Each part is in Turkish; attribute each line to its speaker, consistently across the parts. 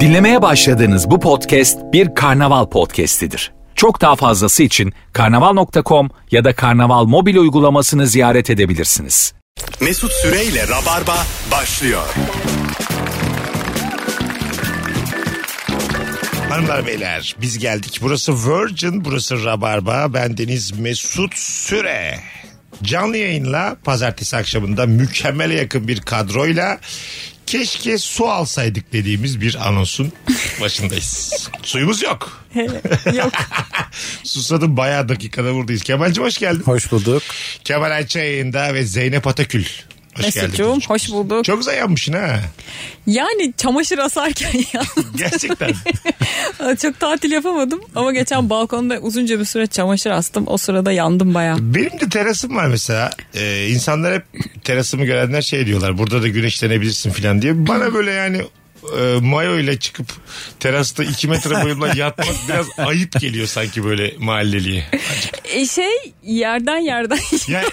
Speaker 1: Dinlemeye başladığınız bu podcast bir karnaval podcastidir. Çok daha fazlası için karnaval.com ya da karnaval mobil uygulamasını ziyaret edebilirsiniz.
Speaker 2: Mesut Süreyle Rabarba başlıyor.
Speaker 3: Hanımlar beyler biz geldik. Burası Virgin, burası Rabarba. Ben Deniz Mesut Süre. Canlı yayınla pazartesi akşamında mükemmele yakın bir kadroyla keşke su alsaydık dediğimiz bir anonsun başındayız. Suyumuz yok.
Speaker 4: Yok.
Speaker 3: Susadım bayağı dakikada buradayız. Kemal'cim hoş geldin.
Speaker 5: Hoş bulduk.
Speaker 3: Kemal Ayça yayında ve Zeynep Atakül. Hoş
Speaker 4: Mesut'cuğum
Speaker 3: geldin.
Speaker 4: hoş bulduk.
Speaker 3: Çok zayanmışsın ha.
Speaker 4: Yani çamaşır asarken yalnız
Speaker 3: Gerçekten.
Speaker 4: çok tatil yapamadım. Ama geçen balkonda uzunca bir süre çamaşır astım. O sırada yandım baya.
Speaker 3: Benim de terasım var mesela. Ee, insanlar hep terasımı görenler şey diyorlar. Burada da güneşlenebilirsin falan diye. Bana böyle yani e, mayo ile çıkıp terasta 2 metre boyunda yatmak biraz ayıp geliyor sanki böyle mahalleliye.
Speaker 4: E şey yerden yerden
Speaker 3: Yani,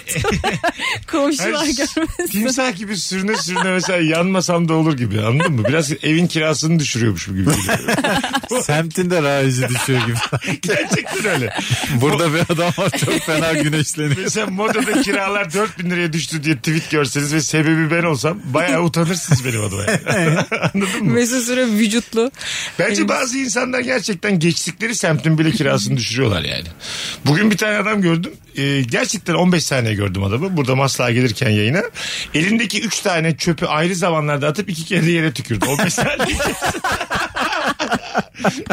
Speaker 4: komşular
Speaker 3: hani
Speaker 4: görmesin.
Speaker 3: timsah gibi sürüne sürüne mesela yanmasam da olur gibi anladın mı? Biraz evin kirasını düşürüyormuşum gibi geliyor.
Speaker 5: Semtinde rayici düşüyor gibi.
Speaker 3: Gerçekten öyle.
Speaker 5: Burada bir adam var çok fena güneşleniyor.
Speaker 3: Mesela modada kiralar 4000 liraya düştü diye tweet görseniz ve sebebi ben olsam bayağı utanırsınız benim adıma. yani. Anladın mı?
Speaker 4: Mesut Süre vücutlu.
Speaker 3: Bence
Speaker 4: Evet.
Speaker 3: bazı insanlar gerçekten geçtikleri semtin bile kirasını düşürüyorlar yani. Bugün bir tane adam gördüm. Ee, gerçekten 15 saniye gördüm adamı. Burada masla gelirken yayına. Elindeki 3 tane çöpü ayrı zamanlarda atıp iki kere de yere tükürdü. 15 saniye.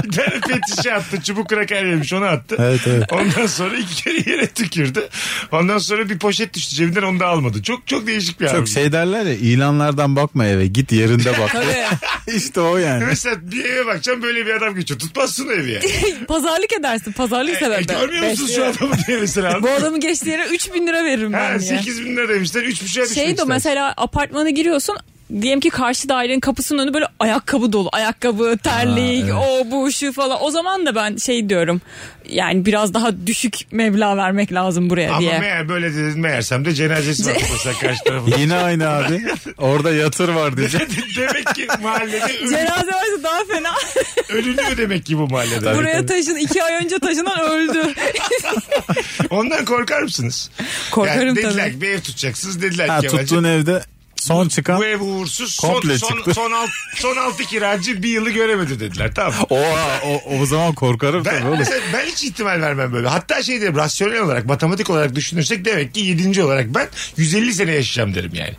Speaker 3: bir tane pet şişe attı. Çubuk kraker yemiş onu attı.
Speaker 5: Evet, evet.
Speaker 3: Ondan sonra iki kere yere tükürdü. Ondan sonra bir poşet düştü cebinden onu da almadı. Çok çok değişik bir abi.
Speaker 5: Çok şey derler ya ilanlardan bakma eve git yerinde bak.
Speaker 4: Tabii.
Speaker 5: işte o yani.
Speaker 3: Mesela bir eve bakacağım böyle bir adam geçiyor. Tutmazsın o evi yani.
Speaker 4: Pazarlık edersin. Pazarlık
Speaker 3: E,
Speaker 4: sever. ben.
Speaker 3: görmüyor musunuz
Speaker 4: Beş
Speaker 3: şu
Speaker 4: lira.
Speaker 3: adamı diye mesela.
Speaker 4: Bu adamın geçtiği yere 3000 lira veririm ben
Speaker 3: Ha,
Speaker 4: ya.
Speaker 3: 8 bin lira demişler 3 buçuğa düşmek
Speaker 4: Şey de
Speaker 3: istersin.
Speaker 4: mesela apartmana giriyorsun diyelim ki karşı dairenin kapısının önü böyle ayakkabı dolu. Ayakkabı, terlik, o bu şu falan. O zaman da ben şey diyorum. Yani biraz daha düşük meblağ vermek lazım buraya
Speaker 3: Ama
Speaker 4: diye.
Speaker 3: meğer böyle dedin meğersem de cenazesi var mesela karşı tarafın.
Speaker 5: Yine aynı abi. Orada yatır var diyecek.
Speaker 3: demek ki mahallede ölü,
Speaker 4: Cenaze varsa daha fena.
Speaker 3: ölünüyor demek ki bu mahallede.
Speaker 4: buraya taşın iki ay önce taşınan öldü.
Speaker 3: Ondan korkar mısınız?
Speaker 4: Korkarım
Speaker 3: dediler
Speaker 4: tabii.
Speaker 3: ki bir ev tutacaksınız dediler
Speaker 5: Ha,
Speaker 3: ki Kemal'cim,
Speaker 5: tuttuğun evde son çıkan
Speaker 3: bu ev uğursuz son,
Speaker 5: komple
Speaker 3: son,
Speaker 5: çıktı.
Speaker 3: son, alt, son altı kiracı bir yılı göremedi dediler tamam mı?
Speaker 5: Oha, o, o zaman korkarım
Speaker 3: Ben,
Speaker 5: tabii oğlum.
Speaker 3: mesela ben hiç ihtimal vermem böyle. Hatta şey derim rasyonel olarak matematik olarak düşünürsek demek ki 7. olarak ben 150 sene yaşayacağım derim yani.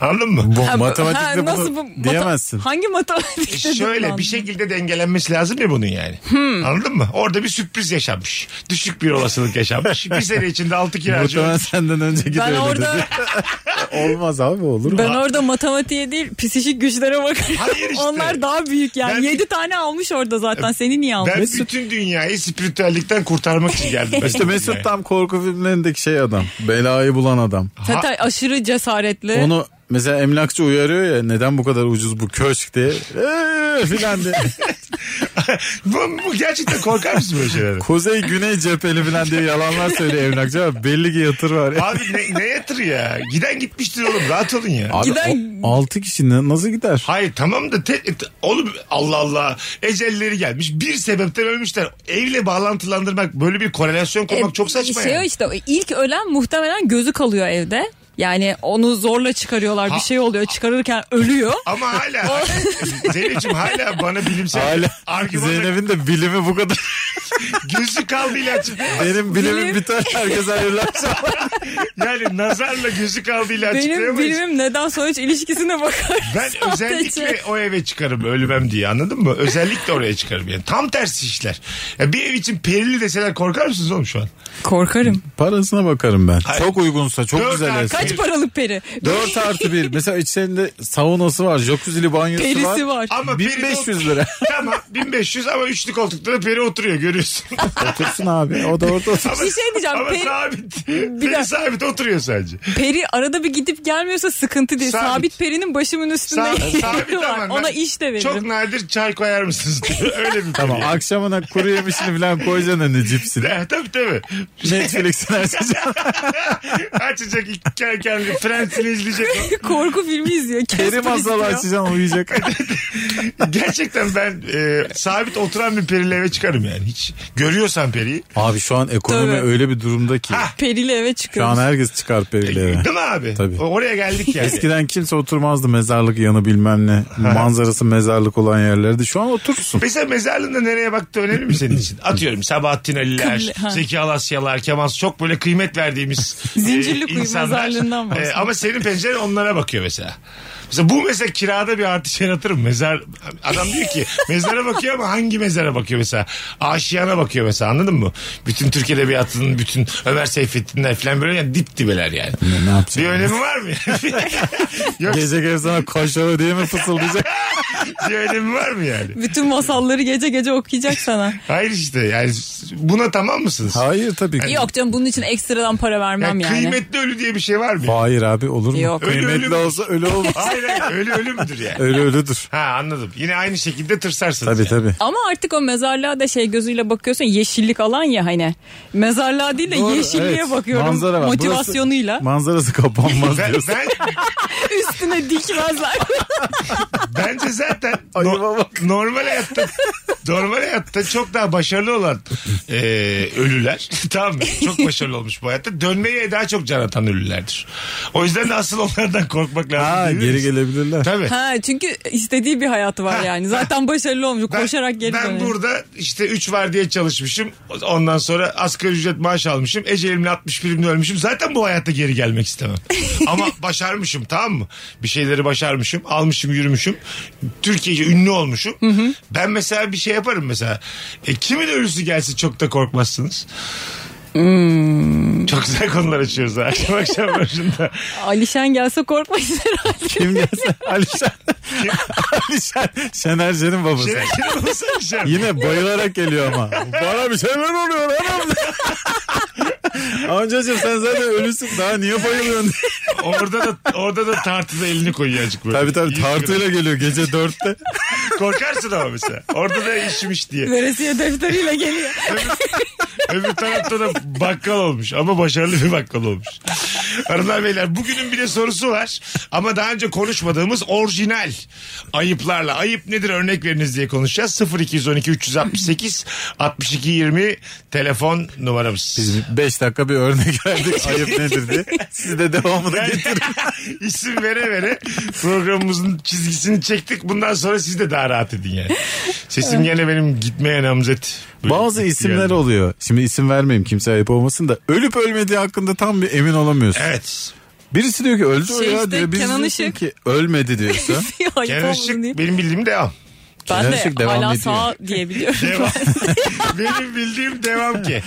Speaker 3: Anladın mı?
Speaker 5: Bu,
Speaker 4: Ha, bu- ha,
Speaker 5: matematikte
Speaker 4: nasıl
Speaker 5: bunu
Speaker 4: bu-
Speaker 5: diyemezsin.
Speaker 4: mata- hangi matematik?
Speaker 3: E
Speaker 4: dedim
Speaker 3: Şöyle
Speaker 4: lan?
Speaker 3: bir şekilde dengelenmesi lazım ya bunun yani. Anladın mı? Orada bir sürpriz yaşanmış. Düşük bir olasılık yaşanmış. bir sene içinde altı kiracı.
Speaker 5: Muhtemelen
Speaker 3: olmuş.
Speaker 5: senden önceki de
Speaker 4: Ben
Speaker 5: öyle
Speaker 4: orada-
Speaker 5: dedi. Olmaz abi olur mu?
Speaker 4: Ben orada matematiğe değil psikik güçlere bakarım.
Speaker 3: Hayır işte.
Speaker 4: Onlar daha büyük yani.
Speaker 3: Ben-
Speaker 4: Yedi tane almış orada zaten. Seni niye almış?
Speaker 3: Ben bütün dünyayı spiritüellikten kurtarmak için geldim.
Speaker 5: İşte Mesut tam korku filmlerindeki şey adam. Belayı bulan adam.
Speaker 4: Hatta aşırı cesaretli.
Speaker 5: Onu mesela emlakçı uyarıyor ya neden bu kadar ucuz bu köşk diye. Eee filan diye.
Speaker 3: bu, bu gerçekten korkar mısın böyle şeylere?
Speaker 5: Kuzey güney cepheli filan diye yalanlar söylüyor emlakçı ama belli ki yatır var. ya.
Speaker 3: Abi ne, ne yatır ya? Giden gitmiştir oğlum rahat olun ya.
Speaker 5: Abi,
Speaker 4: giden-
Speaker 5: 6 kişi na- nasıl gider?
Speaker 3: Hayır tamam da te, te- oğlum Allah Allah ecelleri gelmiş bir sebepten ölmüşler. Evle bağlantılandırmak böyle bir korelasyon kurmak
Speaker 4: E,
Speaker 3: çok saçma
Speaker 4: şey o
Speaker 3: yani.
Speaker 4: işte ilk ölen muhtemelen gözü kalıyor evde. Yani onu zorla çıkarıyorlar
Speaker 3: Ha-
Speaker 4: bir şey oluyor çıkarırken ölüyor.
Speaker 3: Ama hala Zeynep'ciğim hala bana bilimsel
Speaker 5: Hala
Speaker 3: argümanla
Speaker 5: Zeynep'in de bilimi bu kadar.
Speaker 3: Gözü kaldı ilaçım.
Speaker 5: Benim bilimim
Speaker 4: Bilim.
Speaker 5: biter herkes hayırlı akşamlar.
Speaker 3: Yani nazarla gözü kaldı ilaçım.
Speaker 4: Benim bilimim neden sonuç ilişkisine bakar.
Speaker 3: Ben özellikle o eve çıkarım ölmem diye anladın mı? Özellikle oraya çıkarım yani. Tam tersi işler. Ya bir ev için perili deseler korkar mısınız oğlum şu an?
Speaker 4: Korkarım.
Speaker 5: Parasına bakarım ben.
Speaker 3: Hayır.
Speaker 5: Çok uygunsa çok
Speaker 3: Dört
Speaker 5: güzel
Speaker 3: artı-
Speaker 5: eser.
Speaker 4: Kaç paralık peri?
Speaker 5: 4 artı 1. Mesela içlerinde saunası var, jacuzzi'li banyosu var.
Speaker 4: Perisi var.
Speaker 3: Ama peri de-
Speaker 5: 1500 lira.
Speaker 3: tamam 1500 ama üçlü koltukta da peri oturuyor oturuyorsun.
Speaker 5: Otursun abi. O da orada otursun.
Speaker 3: Ama-
Speaker 4: Bir şey diyeceğim.
Speaker 3: Ama
Speaker 4: Peri-
Speaker 3: sabit.
Speaker 4: dakika.
Speaker 3: Peri sabit oturuyor sadece.
Speaker 4: Peri arada bir gidip gelmiyorsa sıkıntı değil.
Speaker 3: Sabit.
Speaker 4: Sabit, Peri'nin başımın üstünde
Speaker 3: Sa-
Speaker 4: yeri
Speaker 3: sabit
Speaker 4: var.
Speaker 3: ama ben
Speaker 4: Ona iş de
Speaker 3: Çok
Speaker 4: veririm.
Speaker 3: nadir çay koyar mısınız? diyor. Öyle bir
Speaker 5: Tamam
Speaker 3: peri.
Speaker 5: akşamına kuru yemişini falan koyacaksın önüne cipsini.
Speaker 3: Eh, tabii tabii.
Speaker 5: Netflix'ini açacaksın.
Speaker 3: Açacak kendi kendi Friends'ini izleyecek. o.
Speaker 4: Korku filmi izliyor.
Speaker 5: Peri
Speaker 4: Casper
Speaker 5: masalı
Speaker 4: izliyor.
Speaker 5: açacaksın uyuyacak.
Speaker 3: Gerçekten ben e, sabit oturan bir periyle eve çıkarım yani. Hiç görüyorsan periyi.
Speaker 5: Abi şu an ekonomi
Speaker 4: Tabii.
Speaker 5: öyle bir durumda ki.
Speaker 4: Perili eve
Speaker 5: Şu
Speaker 4: çıkıyoruz.
Speaker 5: an herkes çıkar periyle eve.
Speaker 3: Değil mi abi?
Speaker 5: Tabii.
Speaker 3: O- Oraya geldik yani.
Speaker 5: Eskiden kimse oturmazdı mezarlık yanı bilmem ne. Manzarası mezarlık olan yerlerde. Şu an oturursun.
Speaker 3: Mesela mezarlığında nereye baktığı önemli mi senin için? Atıyorum Sabahattin Ali'ler,
Speaker 4: Kıble- ha.
Speaker 3: Zeki Alasyalar, Kemal çok böyle kıymet verdiğimiz
Speaker 4: Zincirli
Speaker 3: e,
Speaker 4: kuyu
Speaker 3: insanlar.
Speaker 4: mezarlığından bahsediyor.
Speaker 3: ama senin penceren onlara bakıyor mesela. Mesela bu mesela kirada bir artış yaratır mı? Mezar, adam diyor ki mezara bakıyor ama hangi mezara bakıyor mesela? Aşiyana bakıyor mesela anladın mı? Bütün Türk Edebiyatı'nın bütün Ömer Seyfettin'ler falan böyle yani dip dibeler yani.
Speaker 5: Ne yapacaksın?
Speaker 3: Bir önemi var mı? Yok
Speaker 5: Gece gelip sana koşarı diye mi fısıldayacak?
Speaker 3: bir önemi var mı yani?
Speaker 4: Bütün masalları gece gece okuyacak sana.
Speaker 3: Hayır işte yani buna tamam mısınız?
Speaker 5: Hayır tabii ki.
Speaker 4: Yok canım bunun için ekstradan para vermem
Speaker 3: Yani
Speaker 4: yani.
Speaker 3: Kıymetli ölü diye bir şey var mı?
Speaker 5: Hayır abi olur mu?
Speaker 4: Yok.
Speaker 3: Ölü
Speaker 5: Kıymetli
Speaker 3: ölü-
Speaker 5: olsa ölü olmaz.
Speaker 3: Hayır hayır ölü ölü müdür yani?
Speaker 5: ölü ölüdür.
Speaker 3: Ha anladım. Yine aynı şekilde tırsarsınız.
Speaker 5: Tabii
Speaker 3: yani.
Speaker 5: tabii.
Speaker 4: Ama artık o mezarlığa da şey gözüyle bakıyorsun yeşillik alan ya hani. Mezarlığa değil de
Speaker 5: Doğru,
Speaker 4: yeşilliğe
Speaker 5: evet.
Speaker 4: bakıyorum
Speaker 5: Manzara var.
Speaker 4: motivasyonuyla.
Speaker 5: Burası- manzarası kapanmaz
Speaker 3: Ben,
Speaker 5: diyorsun.
Speaker 3: ben,
Speaker 4: Üstüne dikmezler.
Speaker 3: bence zaten
Speaker 5: Ayıma bak.
Speaker 3: normal hayatta normal hayatta çok daha başarılı olan e, ölüler tamam mı? Çok başarılı olmuş bu hayatta. Dönmeye daha çok can atan ölülerdir. O yüzden de asıl onlardan korkmak lazım.
Speaker 5: Ha
Speaker 3: değil mi?
Speaker 5: geri gelebilirler.
Speaker 3: Tabii.
Speaker 4: ha, çünkü istediği bir hayatı var yani. Zaten başarılı olmuş.
Speaker 3: Ben-
Speaker 4: Koşarak geri
Speaker 3: Ben
Speaker 4: dönüyor.
Speaker 3: burada işte 3 var diye çalışmışım. Ondan sonra asgari ücret maaş almışım. Ecelimle 60 primle ölmüşüm. Zaten bu hayatta geri gelmek istemem. Ama başarmışım tamam mı? Bir şeyleri başarmışım. Almışım yürümüşüm. Türkiye'ye ünlü olmuşum. Ben mesela bir şey yaparım mesela. E, kimin ölüsü gelse çok da korkmazsınız.
Speaker 4: Hmm.
Speaker 3: Çok güzel konular açıyoruz ha. akşam akşam başında.
Speaker 4: Alişen gelse korkmayız herhalde.
Speaker 5: Kim gelse Alişan. Alişan. Şener Şen'in babası.
Speaker 3: Şeref Şeref olsa bir şey.
Speaker 5: Yine bayılarak geliyor ama. Bana bir şeyler oluyor anam. Amcacığım sen zaten ölüsün daha niye bayılıyorsun?
Speaker 3: Orada da orada da tartıda elini koyuyor azıcık böyle.
Speaker 5: tabii tabii
Speaker 3: Yüz gram.
Speaker 5: tartıyla geliyor gece dörtte.
Speaker 3: Korkarsın ama mesela. Orada da işmiş diye.
Speaker 4: Veresiye defteriyle geliyor.
Speaker 3: Öbür tarafta da bakkal olmuş ama başarılı bir bakkal olmuş. Hanımlar beyler bugünün bir de sorusu var ama daha önce konuşmadığımız orijinal ayıplarla ayıp nedir örnek veriniz diye konuşacağız. 0212 368 62 20 telefon numaramız.
Speaker 5: Biz 5 dakika bir örnek verdik ayıp nedir diye. Siz de devamını
Speaker 3: Yani
Speaker 5: getirin.
Speaker 3: isim vere vere programımızın çizgisini çektik. Bundan sonra siz de daha rahat edin yani. Sesim gene benim gitmeye namzet.
Speaker 5: Bazı isimler oluyor. Şimdi isim vermeyeyim kimse ayıp olmasın da ölüp ölmediği hakkında tam bir emin olamıyorsun.
Speaker 3: Evet.
Speaker 5: Birisi diyor ki öldü o
Speaker 4: Şey
Speaker 5: ya
Speaker 4: işte,
Speaker 5: diyor. Birisi
Speaker 4: Kenan
Speaker 5: diyor
Speaker 4: Işık.
Speaker 5: ki ölmedi diyorsun.
Speaker 4: Ayıp
Speaker 3: Kenan
Speaker 4: olmasın
Speaker 3: Işık
Speaker 4: diye.
Speaker 3: benim bildiğim devam.
Speaker 4: Ben
Speaker 5: Kenan
Speaker 4: de
Speaker 5: Işık devam
Speaker 4: hala
Speaker 5: ediyor.
Speaker 4: sağ diyebiliyorum.
Speaker 3: Devam. benim bildiğim devam ki.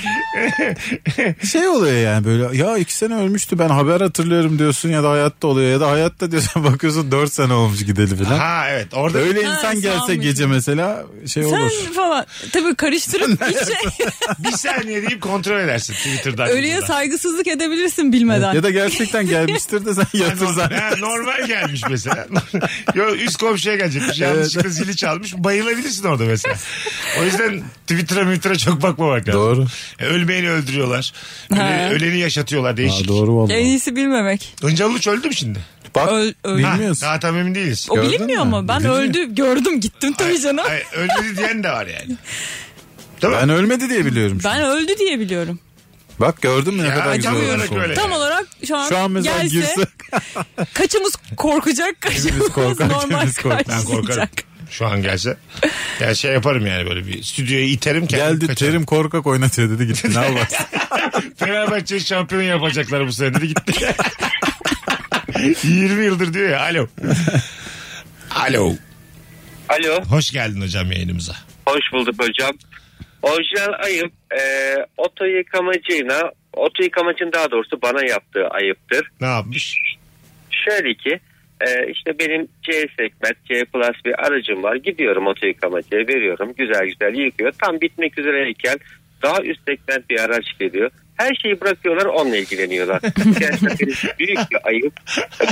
Speaker 5: şey oluyor yani böyle ya iki sene ölmüştü ben haber hatırlıyorum diyorsun ya da hayatta oluyor ya da hayatta diyorsun bakıyorsun dört sene olmuş gideli falan.
Speaker 3: ha evet orada
Speaker 5: Öyle
Speaker 4: Ha,
Speaker 5: insan gelse
Speaker 4: sağmış.
Speaker 5: gece mesela şey olur.
Speaker 4: Sen falan. Tabii karıştırıp hiç şey-
Speaker 3: bir saniye deyip kontrol edersin Twitter'dan.
Speaker 4: ölüye
Speaker 3: Google'dan.
Speaker 4: saygısızlık edebilirsin bilmeden.
Speaker 5: Ya da gerçekten gelmiştir de sen yatır zaten.
Speaker 3: Ha, normal gelmiş mesela. Yo, üst komşuya gelecekmiş. Yanlışlıkla zili çalmış. Bayılabilirsin orada mesela. O yüzden Twitter'a Twitter'a çok bakmamak lazım.
Speaker 5: Doğru.
Speaker 3: E, Ölmeyeni öldürüyorlar. Öle-
Speaker 4: Ha.
Speaker 3: öleni yaşatıyorlar
Speaker 5: Aa,
Speaker 3: değişik.
Speaker 5: doğru valla.
Speaker 4: En iyisi bilmemek.
Speaker 3: Önce Alıç öldü mü şimdi?
Speaker 5: Bak
Speaker 4: Öl- öl-
Speaker 3: Ha,
Speaker 5: bilmiyorsun.
Speaker 3: daha tam emin değiliz.
Speaker 4: O
Speaker 5: Gördün
Speaker 4: bilinmiyor
Speaker 5: mü?
Speaker 4: ama ben
Speaker 5: Biliniyor.
Speaker 4: öldü gördüm gittim tabii canım.
Speaker 3: Ay, ölmedi diyen de var yani. Değil mi?
Speaker 5: Ben ölmedi diye biliyorum.
Speaker 4: Ben öldü diye biliyorum.
Speaker 5: Bak gördün mü ne
Speaker 3: Ya,
Speaker 5: kadar güzel
Speaker 3: tam
Speaker 5: olmuş
Speaker 3: olarak
Speaker 5: oldu.
Speaker 3: öyle.
Speaker 4: Tam olarak şu an,
Speaker 5: Şu an mesela
Speaker 4: gelse
Speaker 5: girse
Speaker 4: kaçımız korkacak kaçımız
Speaker 5: korkar,
Speaker 4: normal
Speaker 5: hepimiz korkar.
Speaker 3: Ben korkarım.
Speaker 4: karşılayacak.
Speaker 3: Şu an gelse. Ya şey yaparım yani böyle bir stüdyoya iterim kendim
Speaker 5: geldi
Speaker 3: kaçarım.
Speaker 5: terim korkak oynatıyor dedi gitti ne yaparsın.
Speaker 3: Fenerbahçe'yi şampiyon yapacaklar bu sene dedi gitti. 20 yıldır diyor ya alo. Alo.
Speaker 6: Alo,
Speaker 3: Hoş geldin hocam yayınımıza.
Speaker 6: hoş bulduk hocam. Orijinal ayıp, e, oto yıkamacıyla, oto yıkamacının daha doğrusu bana yaptığı ayıptır.
Speaker 3: Ne yapmış?
Speaker 6: Şöyle ki, Ee, işte benim C segment, C plus bir aracım var. Gidiyorum oto yıkamacıya veriyorum. Güzel güzel yıkıyor. Tam bitmek üzereyken daha üst segment bir araç geliyor. Her şeyi bırakıyorlar onunla ilgileniyorlar. Gerçekten büyük bir ayıp.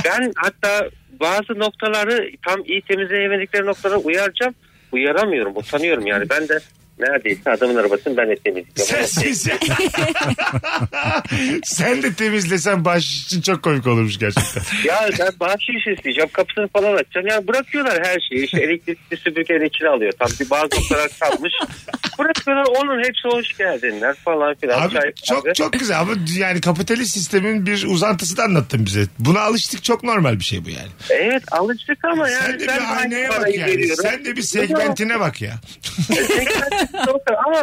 Speaker 6: Ben hatta bazı noktaları tam iyi temizleyemedikleri noktalara uyaracağım. Uyaramıyorum, utanıyorum yani. Ben de neredeyse adamın arabasını ben de temizliyorum.
Speaker 3: Sensiz. Sen de temizlesen baş için çok komik olurmuş gerçekten.
Speaker 6: Ya ben bahşiş isteyeceğim kapısını falan açacağım. Yani bırakıyorlar her şeyi. İşte elektrikli süpürgenin içine alıyor. Tam bir bazı noktalar kalmış. Bırakıyorlar onun hepsi hoş geldinler falan filan.
Speaker 3: Abi
Speaker 6: Çay-
Speaker 3: çok çok güzel ama yani kapitalist sistemin bir uzantısı da anlattın bize. Buna alıştık çok normal bir şey bu yani.
Speaker 6: Evet alıştık ama yani
Speaker 3: Sen de
Speaker 6: ben
Speaker 3: bir haneye
Speaker 6: aynı
Speaker 3: bak
Speaker 6: parayı
Speaker 3: yani.
Speaker 6: veriyorum.
Speaker 3: Sen de bir segmentine bak ya.
Speaker 6: ama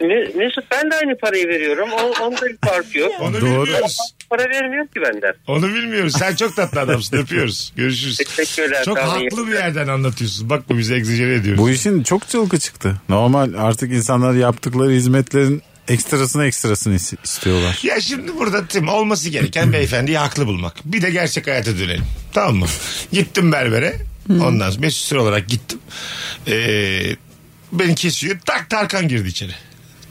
Speaker 6: Me- Mesut ben de aynı parayı veriyorum. O, onda bir fark yok.
Speaker 3: Onu
Speaker 5: Doğru.
Speaker 3: bilmiyoruz.
Speaker 6: Para vermiyor ki benden.
Speaker 3: Onu bilmiyoruz. Sen çok tatlı adamsın. Öpüyoruz. Görüşürüz.
Speaker 6: Teşekkürler.
Speaker 3: Çok
Speaker 6: Tamam,
Speaker 3: haklı
Speaker 6: iyi.
Speaker 3: bir yerden anlatıyorsun. Bak bu bizi egzajere ediyoruz.
Speaker 5: Bu işin çok çılgı çıktı. Normal artık insanlar yaptıkları hizmetlerin ekstrasını ekstrasını is- istiyorlar.
Speaker 3: Ya şimdi burada Tim olması gereken beyefendiyi haklı bulmak. Bir de gerçek hayata dönelim. Tamam mı? Gittim berbere. Ondan sonra mesut süre olarak gittim. Ee, beni kesiyor. Tak Tarkan girdi içeri.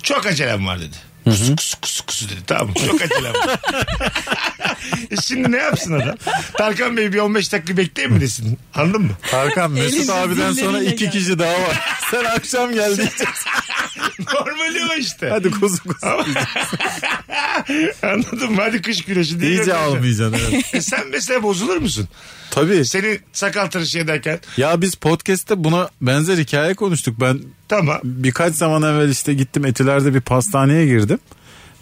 Speaker 3: Çok acelem var dedi. Kusu kusu kusu kusu dedi. Tamam mı? Çok acelem var. E şimdi ne yapsın adam? Tarkan Bey bir 15 dakika bekleyin mi desin? Anladın mı?
Speaker 5: Tarkan Mesut
Speaker 4: Elini
Speaker 5: abiden sonra
Speaker 4: zilleriyle
Speaker 5: iki
Speaker 4: gel.
Speaker 5: kişi daha var. Sen akşam geldin.
Speaker 3: Normali o işte.
Speaker 5: Hadi kuzu kuzu.
Speaker 3: Anladın mı? Hadi kış güneşi diye.
Speaker 5: İyice
Speaker 3: yaklaşıyor.
Speaker 5: almayacaksın. Evet.
Speaker 3: E sen mesela bozulur musun?
Speaker 5: Tabii.
Speaker 3: Seni sakal tıraşı ederken
Speaker 5: Ya biz podcast'te buna benzer hikaye konuştuk. Ben
Speaker 3: tamam.
Speaker 5: birkaç zaman evvel işte gittim Etiler'de bir pastaneye girdim.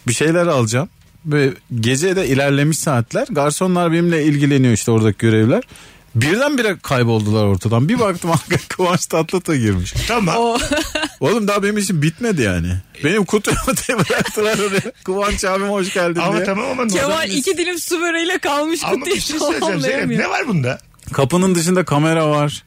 Speaker 5: Bir şeyler alacağım. Ve gece de ilerlemiş saatler. Garsonlar benimle ilgileniyor işte oradaki görevler. Birdenbire kayboldular ortadan. Bir baktım arkaya Kıvanç Tatlıtuğ girmiş.
Speaker 3: Tamam.
Speaker 5: Oğlum daha benim işim bitmedi yani. Benim kutumu diye bıraktılar oraya. Kıvanç abim hoş geldin
Speaker 3: Ama
Speaker 5: diye.
Speaker 3: tamam ama
Speaker 4: Kemal iki dilim su böreğiyle kalmış
Speaker 3: şey Ama
Speaker 4: kutuyu
Speaker 3: bir şey söyleyeceğim Zeynep.
Speaker 4: tamamlayamıyor.
Speaker 3: Ne var bunda?
Speaker 5: Kapının dışında kamera var.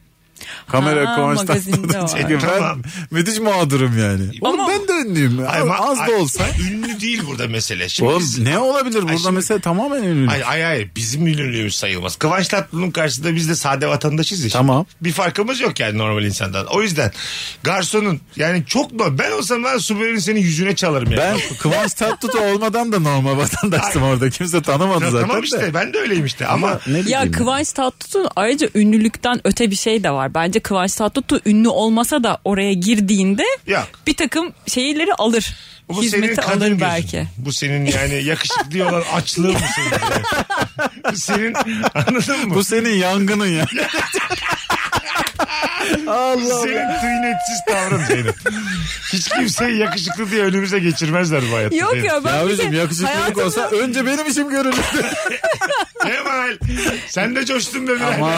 Speaker 5: Kamera
Speaker 4: Ha,
Speaker 5: Kıvanç
Speaker 4: magazinde
Speaker 5: Tatlıtuğ.
Speaker 4: var.
Speaker 5: çekiyor. Ben
Speaker 3: Tamam.
Speaker 5: müthiş mağdurum yani. Oğlum
Speaker 4: Ama-
Speaker 5: ben de ünlüyüm.
Speaker 3: Ama-
Speaker 5: Az
Speaker 3: ay-
Speaker 5: da olsa.
Speaker 3: Ünlü değil burada mesele. Şimdi
Speaker 5: Oğlum
Speaker 3: biz-
Speaker 5: ne olabilir burada
Speaker 3: şimdi-
Speaker 5: mesela tamamen ünlü.
Speaker 3: Ay ay ay bizim ünlülüğümüz sayılmaz. Kıvanç Tatlıtuğ'un karşısında biz de sade vatandaşız ya.
Speaker 5: Tamam.
Speaker 3: Bir farkımız yok yani normal insandan. O yüzden garsonun yani çok normal. Ben olsam ben Subaru'nun senin yüzüne çalarım yani.
Speaker 5: Ben Kıvanç Tatlıtuğ olmadan da normal vatandaştım orada. Kimse tanımadı
Speaker 3: Ya
Speaker 5: zaten
Speaker 3: tamam
Speaker 5: de.
Speaker 3: işte ben de öyleyim işte ama
Speaker 5: Ne bileyim.
Speaker 4: Ya Kıvanç Tatlıtuğ'un ayrıca ünlülükten öte bir şey de var. Bence Kıvanç Tatlıtuğ ünlü olmasa da oraya girdiğinde
Speaker 3: Yok.
Speaker 4: bir takım şeyleri alır.
Speaker 3: bu senin
Speaker 4: Hizmeti
Speaker 3: kadın
Speaker 4: alır
Speaker 3: gözün.
Speaker 4: belki.
Speaker 3: Bu senin yani yakışıklı olan açlığın mı senin? Bu senin anladın mı?
Speaker 5: Bu senin yangının ya. Allah Allah.
Speaker 3: Senin tıynetsiz tavrın Zeynep. Hiç kimseyi yakışıklı diye önümüze geçirmezler bu hayatta.
Speaker 4: Yok
Speaker 3: Zeynep.
Speaker 4: ya ben bir
Speaker 5: Yavrucuğum
Speaker 4: de
Speaker 5: yakışıklılık
Speaker 4: hayatımda-
Speaker 5: olsa önce benim işim görülürdü.
Speaker 3: Kemal sen de coştun be biraz.
Speaker 5: Aman.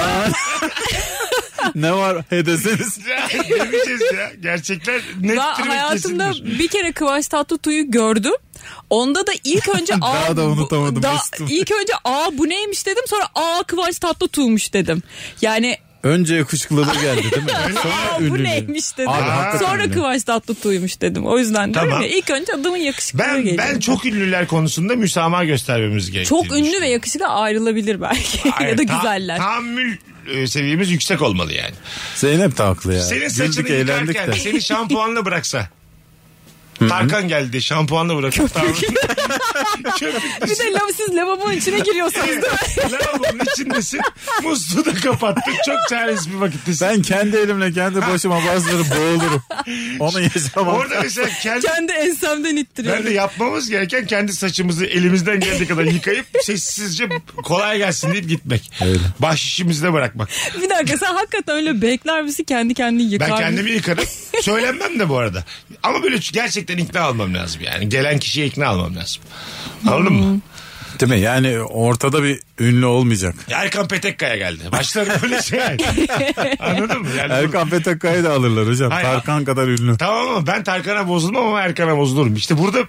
Speaker 5: ne var hedesiniz.
Speaker 3: Ya, Demeyeceğiz ya. Gerçekler nettir
Speaker 4: Ben
Speaker 3: ve
Speaker 4: hayatımda
Speaker 3: kesindir.
Speaker 4: bir kere Kıvanç Tatlıtuğ'u gördüm. Onda da ilk önce
Speaker 5: Daha
Speaker 4: aa,
Speaker 5: da
Speaker 4: bu-
Speaker 5: unutamadım
Speaker 4: da-
Speaker 5: Mesut'um.
Speaker 4: ilk önce aa bu neymiş dedim sonra aa Kıvanç Tatlıtuğ'muş dedim. Yani
Speaker 5: Önce yakışıklılığı geldi değil mi? Sonra
Speaker 4: aa bu
Speaker 5: ünlülüğü.
Speaker 4: neymiş dedim.
Speaker 5: Abi, hakikaten
Speaker 4: sonra
Speaker 5: öyle.
Speaker 4: Kıvanç Tatlıtuğ'muş dedim. O yüzden diyorum
Speaker 3: Tamam.
Speaker 4: ya, ilk önce adamın yakışıklılığı
Speaker 3: Ben,
Speaker 4: geliyor.
Speaker 3: ben çok ünlüler konusunda müsamaha göstermemiz gerekiyor.
Speaker 4: Çok ünlü ve yakışıklı ayrılabilir belki. ya da güzeller.
Speaker 3: Tahammül e, seviyemiz yüksek olmalı yani.
Speaker 5: Zeynep de haklı ya.
Speaker 3: Senin
Speaker 5: Güldük
Speaker 3: saçını
Speaker 5: eğlendik
Speaker 3: yıkarken
Speaker 5: de.
Speaker 3: seni şampuanla bıraksa. Tarkan geldi şampuanla bırakıp tavrını. Köpük
Speaker 4: bir de lav, siz lavabonun içine giriyorsunuz değil mi?
Speaker 3: Lavabonun içindesin. Musluğu da kapattın. Çok çaresiz bir vakittesin.
Speaker 5: Ben kendi elimle kendi başıma bazıları boğulurum. Onu yaşamam.
Speaker 3: Orada mesela kendi...
Speaker 4: Kendi ensemden
Speaker 3: Ben de
Speaker 4: ittiriyorum.
Speaker 3: yapmamız gereken kendi saçımızı elimizden geldiği kadar yıkayıp sessizce kolay gelsin deyip gitmek.
Speaker 5: Öyle.
Speaker 3: Bahşişimizde bırakmak.
Speaker 4: Bir dakika sen hakikaten öyle bekler misin kendi kendini yıkar
Speaker 3: Ben
Speaker 4: mısın?
Speaker 3: kendimi yıkarım. Söylenmem de bu arada. Ama böyle gerçekten ikna olmam lazım yani. Gelen kişiye ikna olmam lazım. Anladın mı?
Speaker 5: Değil mi? Yani ortada bir ünlü olmayacak.
Speaker 3: Erkan Petekkaya geldi. Başlarım böyle şey. Anladın mı? Yani
Speaker 5: Erkan Petekkaya'yı da alırlar hocam.
Speaker 3: Hayır.
Speaker 5: Tarkan kadar ünlü.
Speaker 3: Tamam ama ben Tarkan'a bozulmam ama Erkan'a bozulurum. İşte burada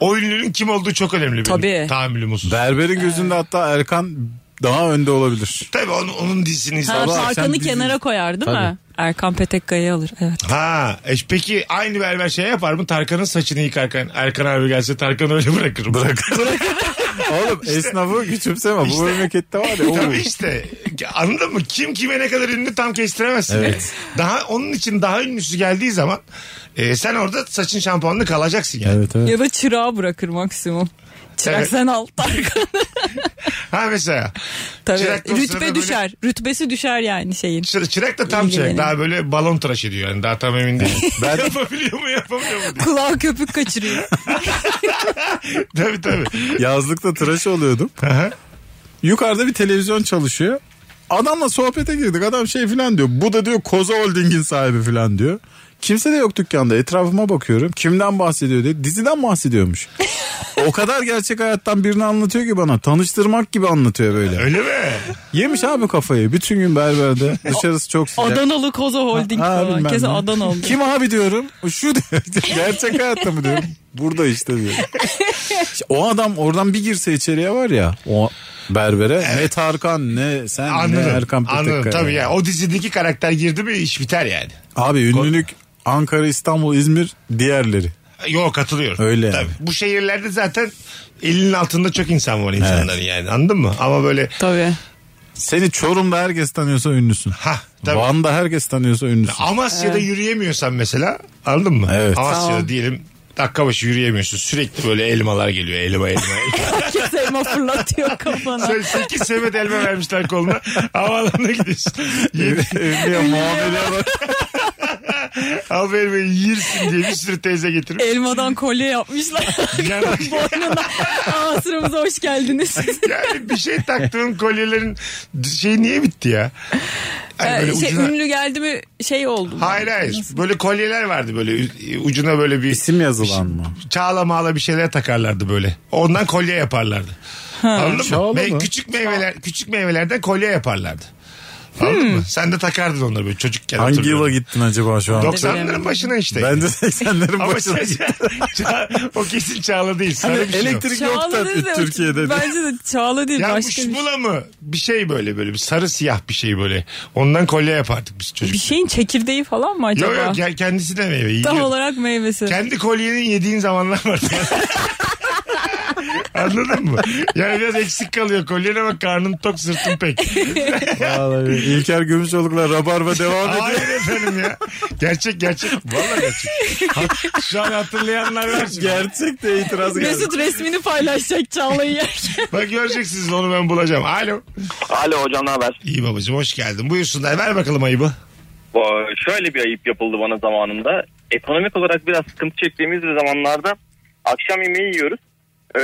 Speaker 3: o ünlünün kim olduğu çok önemli benim
Speaker 4: Tabii.
Speaker 3: tahammülüm husus.
Speaker 5: Berberin gözünde
Speaker 3: Ee.
Speaker 5: hatta Erkan daha önde olabilir.
Speaker 3: Tabii onun, onun dizisini
Speaker 4: Ha,
Speaker 3: izledim.
Speaker 5: Sabah akşam
Speaker 4: Tarkan'ı
Speaker 5: bizi-
Speaker 4: kenara koyar değil mi? Erkan Petekkaya'yı alır. Evet.
Speaker 3: Ha, e peki aynı berber şey yapar mı? Tarkan'ın saçını yıkarken Erkan abi gelse Tarkan'ı öyle bırakırım. Bırakır.
Speaker 5: Oğlum esnafı küçümseme. Bu memlekette var ya. o-
Speaker 3: Tabii işte anladın mı? Kim kime ne kadar ünlü tam kestiremezsin.
Speaker 5: Evet.
Speaker 3: Daha onun için daha ünlüsü geldiği zaman e, sen orada saçın şampuanlı kalacaksın yani.
Speaker 5: Evet evet.
Speaker 4: Ya da çırağı bırakır maksimum. Çırak
Speaker 3: Evet.
Speaker 4: sen al. Tarkan.
Speaker 3: Ha mesela.
Speaker 4: Tabii.
Speaker 3: Çırak da o sırada böyle-
Speaker 4: Rütbe düşer. Rütbesi düşer yani şeyin.
Speaker 3: Çı- Çırak da tam çırak.
Speaker 4: İlgilenim.
Speaker 3: Daha böyle balon tıraş ediyor. Yani daha tam emin değilim. ben... Yapabiliyor mu yapamıyor mu?
Speaker 4: Kulağı köpük kaçırıyor.
Speaker 3: diye. tabii tabii.
Speaker 5: Yazlıkta tıraş oluyordum.
Speaker 3: Aha.
Speaker 5: Yukarıda bir televizyon çalışıyor. Adamla sohbete girdik. Adam şey filan diyor. Bu da diyor Koza Holding'in sahibi filan diyor. Kimse de yok dükkanda. Etrafıma bakıyorum. Kimden bahsediyor diye. Diziden bahsediyormuş. o kadar gerçek hayattan birini anlatıyor ki bana. Tanıştırmak gibi anlatıyor böyle.
Speaker 3: Öyle mi?
Speaker 5: Yemiş abi kafayı. Bütün gün berberde. Dışarısı çok sıcak.
Speaker 4: Adanalı Koza Holding
Speaker 5: Ha,
Speaker 4: falan.
Speaker 5: bilmem
Speaker 4: Kesin
Speaker 5: ne.
Speaker 4: Adanalı.
Speaker 5: Kim abi diyorum. Şu diyor. Gerçek hayatta mı diyorum. Burada işte diyor. İşte o adam oradan bir girse içeriye var ya. O berbere ne Tarkan ne sen ne Erkan
Speaker 3: Anladım.
Speaker 5: Petekkaya.
Speaker 3: Anladım. Tabii ya. O dizideki karakter girdi mi iş biter yani.
Speaker 5: Abi ünlülük Ankara, İstanbul, İzmir diğerleri.
Speaker 3: Yok katılıyorum.
Speaker 5: Öyle
Speaker 3: Tabii.
Speaker 5: yani.
Speaker 3: Bu şehirlerde zaten elinin altında çok insan var insanların yani. Anladın mı? Ama böyle
Speaker 4: Tabii.
Speaker 5: Seni Çorum'da herkes tanıyorsa ünlüsün.
Speaker 3: ha tabii.
Speaker 5: Van'da herkes tanıyorsa ünlüsün.
Speaker 3: Amasya'da yürüyemiyorsan mesela anladın mı?
Speaker 5: Evet.
Speaker 3: Amasya'da
Speaker 4: Tamam.
Speaker 3: diyelim dakika başı yürüyemiyorsun. Sürekli böyle elmalar geliyor. Elma elma. elma.
Speaker 4: Herkes elma fırlatıyor kafana.
Speaker 3: Sen 8 semet elma vermişler koluna. Havaalanına gidiyorsun. Yedi-
Speaker 5: Ünlüye muamele bak.
Speaker 3: Al bu elmayı yirsin diye bir sürü teyze getirip.
Speaker 4: Elmadan kolye yapmışlar.
Speaker 3: Yani,
Speaker 4: Boynuna. Aa sıramıza hoş geldiniz.
Speaker 3: yani bir şey taktığın kolyelerin şey niye bitti ya? Hani
Speaker 4: Ee,
Speaker 3: böyle
Speaker 4: şey,
Speaker 3: ucuna-
Speaker 4: ünlü geldi mi şey oldu.
Speaker 3: Hayır hayır. Böyle kolyeler vardı böyle Ü- ucuna böyle bir
Speaker 5: İsim yazılan mı?
Speaker 3: çağla mağla bir şeyler takarlardı böyle. Ondan kolye yaparlardı. Anladın
Speaker 5: Çağla
Speaker 3: mı? Ve
Speaker 5: mı?
Speaker 3: küçük meyveler küçük meyvelerden kolye yaparlardı. Anladın mı? Sen de takardın onları böyle çocukken.
Speaker 5: Hangi
Speaker 3: hatırlıyorum.
Speaker 5: yıla gittin acaba şu an?
Speaker 3: 90'ların başına işte.
Speaker 5: Ben de 80'lerin
Speaker 3: Ama
Speaker 5: başında.
Speaker 3: sen, Çağ- o kesin Çağla değil. Sarı bir şey o.
Speaker 5: Hani elektrik yok
Speaker 4: Çağla
Speaker 5: da
Speaker 4: değil de-
Speaker 5: Türkiye'de. de.
Speaker 4: Bence de Çağla değil.
Speaker 3: Ya
Speaker 4: başka bir,
Speaker 3: muşmula mı? Bir şey böyle böyle bir sarı siyah bir şey böyle. Ondan kolye yapardık biz çocuk.
Speaker 4: bir şeyin çekirdeği falan mı acaba?
Speaker 3: Yok yok ke- kendisi de meyve yiyor.
Speaker 4: Tam olarak meyvesi.
Speaker 3: Kendi kolyenin yediğin zamanlar var. Anladın mı? Yani biraz eksik kalıyor kolyene bak karnın tok sırtın pek.
Speaker 5: Vallahi İlker Gümüşoluk'la Rabarba devam ediyor.
Speaker 3: Hayır efendim ya. Gerçek gerçek. Vallahi gerçek. Hat- Şu an hatırlayanlar var. şimdi.
Speaker 5: Gerçek de itiraz geldi.
Speaker 4: Mesut resmini paylaşacak Çağla'yı yerken.
Speaker 3: Bak göreceksiniz onu ben bulacağım. Alo.
Speaker 7: Alo hocam ne haber?
Speaker 3: İyi babacığım hoş geldin. Buyursunlar ver bakalım ayıbı.
Speaker 7: Bu- Ee, Şöyle bir ayıp yapıldı bana zamanında. Ekonomik olarak biraz sıkıntı çektiğimiz bir zamanlarda akşam yemeği yiyoruz. Ee,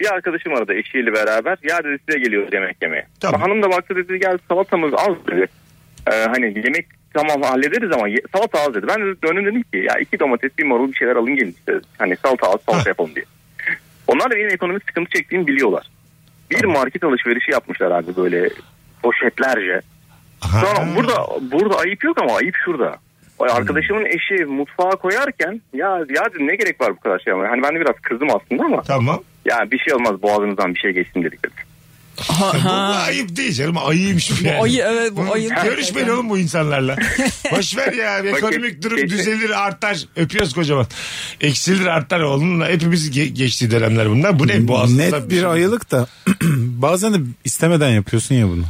Speaker 7: bir arkadaşım aradı eşiyle beraber. Ya dedi size geliyoruz yemek yemeye.
Speaker 3: Tamam.
Speaker 7: Hanım da baktı dedi gel salatamız az dedi. Ee, hani yemek tamam hallederiz ama ye- salata az dedi. Ben de döndüm dedim ki ya iki domates bir marul bir şeyler alın gelin işte. Hani salata az salata yapalım diye. Onlar da benim ekonomik sıkıntı çektiğimi biliyorlar. Bir market alışverişi yapmışlar abi böyle poşetlerce.
Speaker 3: Aha.
Speaker 7: Tamam burada burada ayıp yok ama ayıp şurada. O arkadaşımın eşi mutfağa koyarken ya ya dedim ne gerek var bu kadar şey ama hani ben de biraz kızdım aslında ama
Speaker 3: Tamam.
Speaker 7: ya bir şey olmaz boğazınızdan bir şey geçsin dedik.
Speaker 3: Bu ayıp değil canım ayıymış bu yani.
Speaker 4: ayı- evet, bu ayı-
Speaker 3: Görüşmeyin oğlum bu insanlarla. Boş ver ya ekonomik
Speaker 7: Bak,
Speaker 3: durum
Speaker 7: geç-
Speaker 3: düzelir artar. Öpüyoruz kocaman. Eksilir artar onunla hepimiz ge- geçtiği dönemler bunlar. Bu ne E, bu
Speaker 5: Net bir ayılık da bazen de istemeden yapıyorsun ya bunu.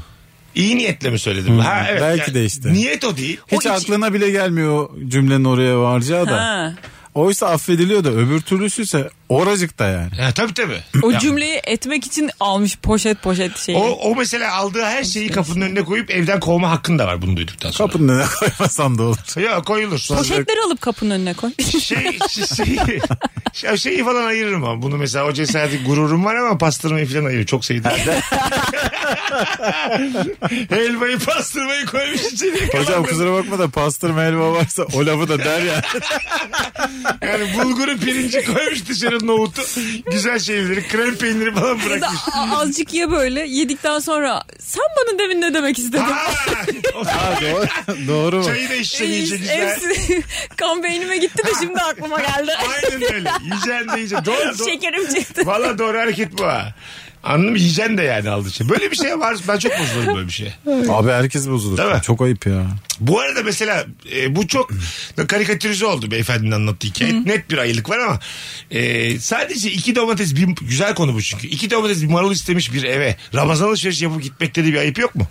Speaker 3: İyi niyetle mi söyledim? Ha, evet.
Speaker 5: belki de işte.
Speaker 3: Niyet o değil.
Speaker 5: Hiç
Speaker 3: o
Speaker 5: aklına bile gelmiyor o cümlenin oraya varacağı da.
Speaker 4: Ha.
Speaker 5: Oysa affediliyor da öbür türlüsüyse oracıkta yani.
Speaker 3: Ha, tabii tabii.
Speaker 4: O
Speaker 3: Ya,
Speaker 4: cümleyi etmek için almış poşet poşet şeyi.
Speaker 3: O, o mesela aldığı her şeyi kapının önüne koyup evden kovma hakkın da var bunu duyduktan sonra.
Speaker 5: Kapının önüne koymasan da olur.
Speaker 3: Ya koyulur.
Speaker 4: Poşetleri alıp kapının önüne koy.
Speaker 3: şey, şey, şey- şey, şeyi falan ayırırım ama bunu mesela o cesareti gururum var ama pastırmayı falan ayırırım. Çok şey sevdim. Helvayı pastırmayı koymuş içeriye.
Speaker 5: Hocam kusura bakma da pastırma helva varsa o lafı da der ya.
Speaker 3: Yani bulguru pirinci koymuş dışarı nohutu. Güzel şeyleri krem peyniri falan
Speaker 4: Ya da
Speaker 3: bırakmış.
Speaker 4: a- azıcık ye böyle yedikten sonra sen bana demin ne demek istedin?
Speaker 3: Ha! O
Speaker 5: Doğru, doğru mu?
Speaker 3: Çayı da içeceksin
Speaker 4: Ee,
Speaker 3: yiyeceksin.
Speaker 4: hepsi- kan beynime gitti de şimdi aklıma geldi.
Speaker 3: Aynen öyle. Yiyeceksin de yiyeceksin. Doğru, doğru.
Speaker 4: Şekerim çıktı.
Speaker 3: Valla doğru hareket bu ha. Anladın mı? Yiyeceksin de yani aldığı için. Böyle bir şey var. Ben çok bozulurum böyle bir şeye.
Speaker 5: Abi herkes bozulur.
Speaker 3: Değil mi?
Speaker 5: Çok ayıp ya.
Speaker 3: Bu arada mesela e, bu çok karikatürize oldu beyefendinin anlattığı hikaye. Net bir ayılık var ama e, sadece iki domates bir güzel konu bu çünkü. İki domates bir marul istemiş bir eve. Ramazan alışverişi yapıp gitmekte de bir ayıp yok mu?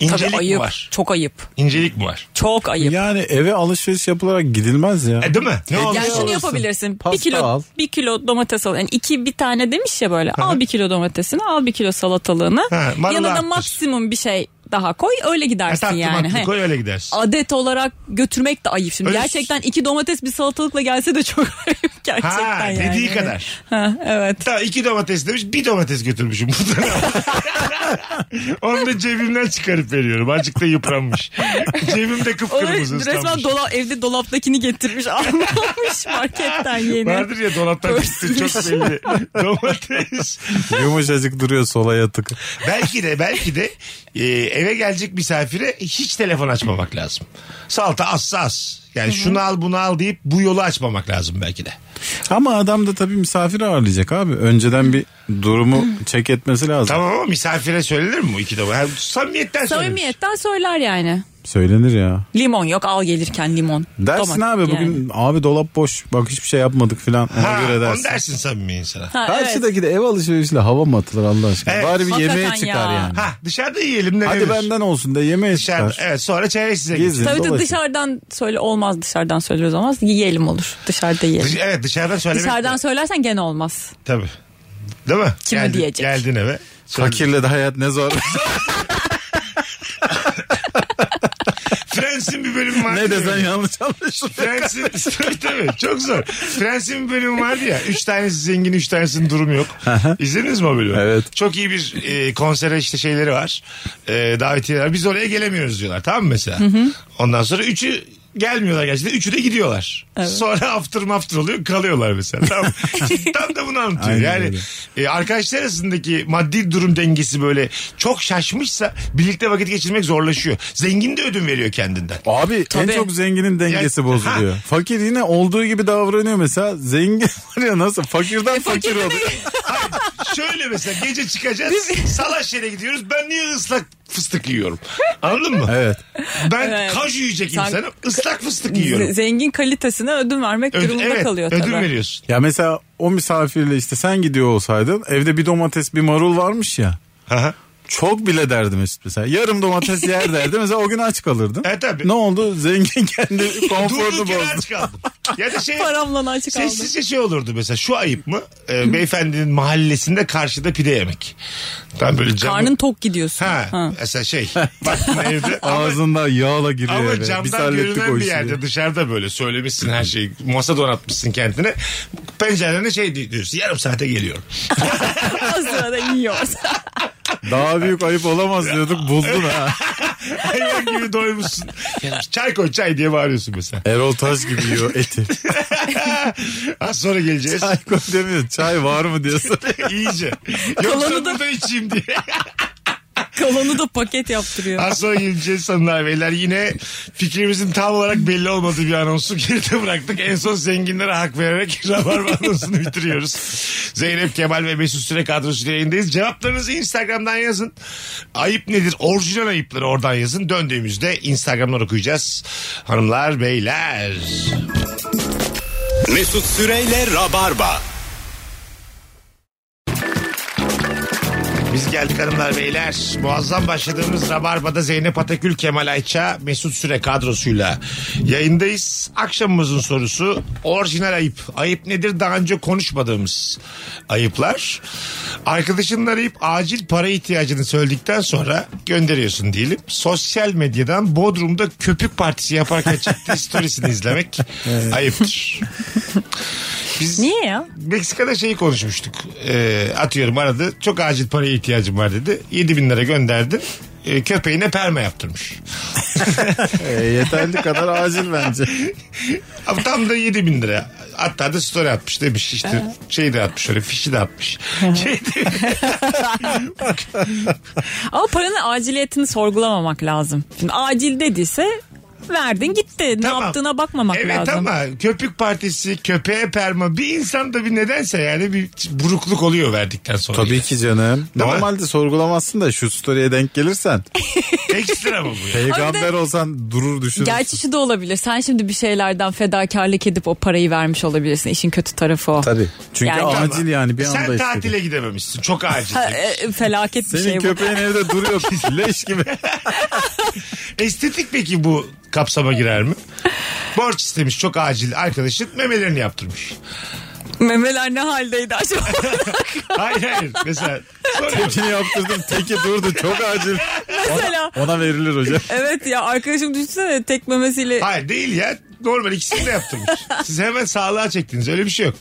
Speaker 3: İncelik
Speaker 4: Tabii
Speaker 3: mi
Speaker 4: ayıp.
Speaker 3: var?
Speaker 4: Çok ayıp.
Speaker 3: İncelik mi var?
Speaker 4: Çok ayıp.
Speaker 5: Yani eve alışveriş yapılarak gidilmez ya.
Speaker 3: E, değil mi? Ne oldu?
Speaker 4: yani şunu
Speaker 5: alırsın.
Speaker 4: yapabilirsin.
Speaker 5: Pasta
Speaker 4: bir kilo
Speaker 5: al.
Speaker 4: bir kilo domates al. Yani iki bir tane demiş ya böyle. al bir kilo domatesini, al bir kilo salatalığını.
Speaker 3: Ha, marulu
Speaker 4: Yanına
Speaker 3: arttır.
Speaker 4: maksimum bir şey daha koy. Öyle
Speaker 3: E,
Speaker 4: gidersin
Speaker 3: tatlı
Speaker 4: yani.
Speaker 3: matlı
Speaker 4: He.
Speaker 3: koy öyle gidersin.
Speaker 4: Adet olarak götürmek de ayıp şimdi.
Speaker 3: Öyle-
Speaker 4: Gerçekten iki domates bir salatalıkla gelse de çok ayıp gerçekten
Speaker 3: Ha
Speaker 4: yani.
Speaker 3: dediği kadar.
Speaker 4: Ha, evet.
Speaker 3: Tamam iki domates demiş bir domates götürmüşüm. Onu da cebimden çıkarıp veriyorum. Azıcık da yıpranmış. Cebimde
Speaker 4: Onu
Speaker 3: kıpkırmızı
Speaker 4: resmen
Speaker 3: ıslanmış.
Speaker 4: dola, evde dolaptakini getirmiş almamış marketten yeni.
Speaker 3: Vardır ya dolaptan çıktı çok belli. Domates.
Speaker 5: Yumuşacık duruyor sola yatık.
Speaker 3: belki de belki de e, eve gelecek misafire hiç telefon açmamak lazım. Salta az az. Yani şunu al bunu al deyip bu yolu açmamak lazım belki de.
Speaker 5: Ama adam da tabii misafir ağırlayacak abi. Önceden bir durumu çek etmesi lazım.
Speaker 3: Tamam ama misafire söylenir mi bu iki domates? Yani samimiyetten söylenir.
Speaker 4: Samimiyetten söyler yani.
Speaker 5: Söylenir ya.
Speaker 4: Limon yok al gelirken limon.
Speaker 5: Dersin
Speaker 4: Domates
Speaker 5: abi bugün
Speaker 4: yani.
Speaker 5: abi dolap boş. Bak hiçbir şey yapmadık filan. Ona
Speaker 3: Ha,
Speaker 5: göre dersin.
Speaker 3: onu dersin samimi insana.
Speaker 4: Ha, evet.
Speaker 5: Karşıdaki de ev alışverişiyle hava mı atılır Allah aşkına?
Speaker 3: Evet.
Speaker 5: Bari bir
Speaker 4: Hakikaten
Speaker 5: yemeğe çıkar
Speaker 4: ya.
Speaker 5: yani.
Speaker 3: Ha dışarıda yiyelim ne
Speaker 5: Hadi
Speaker 3: denir?
Speaker 5: benden olsun da yemeğe
Speaker 3: Dışarıda.
Speaker 5: çıkar.
Speaker 3: Evet sonra çeyrek size gelir.
Speaker 5: Gezin,
Speaker 4: Tabii de
Speaker 5: dolaşın.
Speaker 4: dışarıdan söyle olmaz dışarıdan söylüyoruz olmaz. Yiyelim olur. Dışarıda yiyelim.
Speaker 3: Dış- evet dışarıdan söylemek.
Speaker 4: Dışarıdan söylersen gene olmaz.
Speaker 3: Tabii. Değil mi?
Speaker 4: Kim
Speaker 3: geldin,
Speaker 4: ödeyecek?
Speaker 3: Geldin eve. Söyledin.
Speaker 5: Fakirle de hayat ne zor.
Speaker 3: Friends'in bir bölümü var.
Speaker 5: ne desen yanlış anlaşılır.
Speaker 3: Prensin tabii tabii çok zor. Prensin bir bölümü vardı ya. Üç tanesi zengin, üç tanesinin durumu yok. İzlediniz mi o bölümü?
Speaker 5: Evet.
Speaker 3: Çok iyi bir e, konsere işte şeyleri var. E, davetiyeler. Biz oraya gelemiyoruz diyorlar. Tamam mı mesela? Ondan sonra üçü gelmiyorlar gerçekten. Üçü de gidiyorlar. Sonra after mafter oluyor. Kalıyorlar mesela. Tam, tam da bunu anlatıyor.
Speaker 5: Aynen
Speaker 3: yani
Speaker 5: öyle.
Speaker 3: e, arkadaşlar arasındaki maddi durum dengesi böyle çok şaşmışsa birlikte vakit geçirmek zorlaşıyor. Zengin de ödün veriyor kendinden.
Speaker 5: Abi
Speaker 4: Tabii.
Speaker 5: en çok zenginin dengesi
Speaker 3: Ya-
Speaker 5: bozuluyor. Fakir yine olduğu gibi davranıyor mesela. Zengin var ya nasıl fakirden fakir oluyor.
Speaker 3: Şöyle mesela gece çıkacağız salaş yere gidiyoruz ben niye ıslak fıstık yiyorum anladın mı?
Speaker 5: Evet.
Speaker 3: Ben
Speaker 4: Evet.
Speaker 3: kaju yiyecek
Speaker 4: Sen-
Speaker 3: insanım ıslak fıstık
Speaker 4: Z-
Speaker 3: yiyorum.
Speaker 4: Zengin kalitesine ödün vermek
Speaker 3: Ödül,
Speaker 4: durumunda
Speaker 3: evet,
Speaker 4: kalıyor
Speaker 3: ödül
Speaker 4: tabii.
Speaker 3: veriyorsun.
Speaker 5: Ya mesela o misafirle işte sen gidiyor olsaydın evde bir domates bir marul varmış ya.
Speaker 3: Aha.
Speaker 5: Çok bile derdi Mesut mesela. Yarım domates yer derdi. Mesela o gün aç kalırdın.
Speaker 3: E, tabii.
Speaker 5: Ne oldu? Zengin kendi konforunu
Speaker 3: Durduk yere
Speaker 5: bozdu.
Speaker 3: aç kaldım. Ya da şey
Speaker 4: Paramla açık aldım.
Speaker 3: sessizce şey olurdu mesela şu ayıp mı? Ee, beyefendinin mahallesinde karşıda pide yemek. Tam böyle camı...
Speaker 4: Karnın tok gidiyorsun.
Speaker 3: Ha,
Speaker 4: Ha.
Speaker 3: mesela şey baktın evde ama-
Speaker 5: Ağzında yağla giriyor.
Speaker 3: Ama
Speaker 5: eve. Biz
Speaker 3: camdan
Speaker 5: hallettik o
Speaker 3: görünen bir
Speaker 5: işi
Speaker 3: yerde
Speaker 5: diye.
Speaker 3: dışarıda böyle söylemişsin her şeyi. Masa donatmışsın kendine. Pencerene şey di- diyorsun yarım saate geliyorum.
Speaker 4: O sırada yiyorsun.
Speaker 5: Daha büyük ayıp olamaz diyorduk buldun ha.
Speaker 3: Hayvan gibi doymuşsun. çay koy çay diye bağırıyorsun mesela.
Speaker 5: Erol Taş gibi yiyor eti.
Speaker 3: Az sonra geleceğiz.
Speaker 5: Çay koy demiyor. Çay var mı diyorsun.
Speaker 3: İyice. Yoksa
Speaker 4: Kalanı da-
Speaker 3: bu da içeyim diye.
Speaker 4: Kalanı da paket yaptırıyor.
Speaker 3: Az sonra geleceğiz sanırlar beyler. Yine fikrimizin tam olarak belli olmadığı bir anonsu geride bıraktık. En son zenginlere hak vererek Rabarba anonsunu bitiriyoruz. Zeynep Kemal ve Mesut Süre kadrosuyla yayındayız. Cevaplarınızı Instagram'dan yazın. Ayıp nedir? Orijinal ayıpları oradan yazın. Döndüğümüzde Instagram'dan okuyacağız. Hanımlar beyler.
Speaker 2: Mesut Süreyle Rabarba.
Speaker 3: Biz geldik hanımlar beyler. Muazzam başladığımız Rabarba'da Zeynep Atakül, Kemal Ayça, Mesut Süre kadrosuyla yayındayız. Akşamımızın sorusu orijinal ayıp. Ayıp nedir daha önce konuşmadığımız ayıplar. Arkadaşının arayıp acil para ihtiyacını söyledikten sonra gönderiyorsun diyelim. Sosyal medyadan Bodrum'da köpük partisi yaparken çıktığı storiesini izlemek ayıptır. Biz...
Speaker 4: Niye ya?
Speaker 3: Meksika'da şeyi konuşmuştuk. Ee, atıyorum aradı. Çok acil paraya ihtiyacım var dedi. 7 bin lira gönderdi. Ee, köpeğine perma yaptırmış.
Speaker 5: E, yeterli kadar acil bence.
Speaker 3: Ama tam da 7 bin lira. Hatta da story atmış demiş işte
Speaker 4: Ee?
Speaker 3: şey de atmış öyle fişi de atmış. Şey de-
Speaker 4: Ama paranın aciliyetini sorgulamamak lazım. Şimdi acil dediyse verdin gitti.
Speaker 3: Tamam.
Speaker 4: Ne yaptığına bakmamak
Speaker 3: evet,
Speaker 4: lazım.
Speaker 3: ama köpük partisi, köpeğe perma bir insan da bir nedense yani bir burukluk oluyor verdikten sonra.
Speaker 5: Tabii ki canım.
Speaker 3: Değil mi?
Speaker 5: Normalde sorgulamazsın da şu story'e denk gelirsen
Speaker 3: Ekstra mı bu ya?
Speaker 5: peygamber olsan durur düşünürsün.
Speaker 4: Gerçi şu da olabilir. Sen şimdi bir şeylerden fedakarlık edip o parayı vermiş olabilirsin. İşin kötü tarafı o.
Speaker 5: Tabii. Çünkü
Speaker 4: Yani-
Speaker 5: acil yani bir
Speaker 3: Sen
Speaker 5: anda
Speaker 3: tatile
Speaker 5: istedi.
Speaker 3: gidememişsin. Çok acil.
Speaker 4: Ha, e, felaket bir
Speaker 5: Senin
Speaker 4: şey bu.
Speaker 5: köpeğin evde duruyor leş gibi.
Speaker 3: Estetik peki bu kapsama girer mi? Borç istemiş çok acil arkadaşın memelerini yaptırmış.
Speaker 4: Memeler ne haldeydi acaba?
Speaker 3: Hayır hayır mesela soruyorum.
Speaker 5: Tekini yaptırdım teki durdu çok acil.
Speaker 4: Mesela.
Speaker 5: Ona verilir hocam.
Speaker 4: Evet ya arkadaşım düşünsene tek memesiyle.
Speaker 3: Hayır değil ya normal ikisini de yaptırmış. Siz hemen sağlığa çektiniz öyle bir şey yok.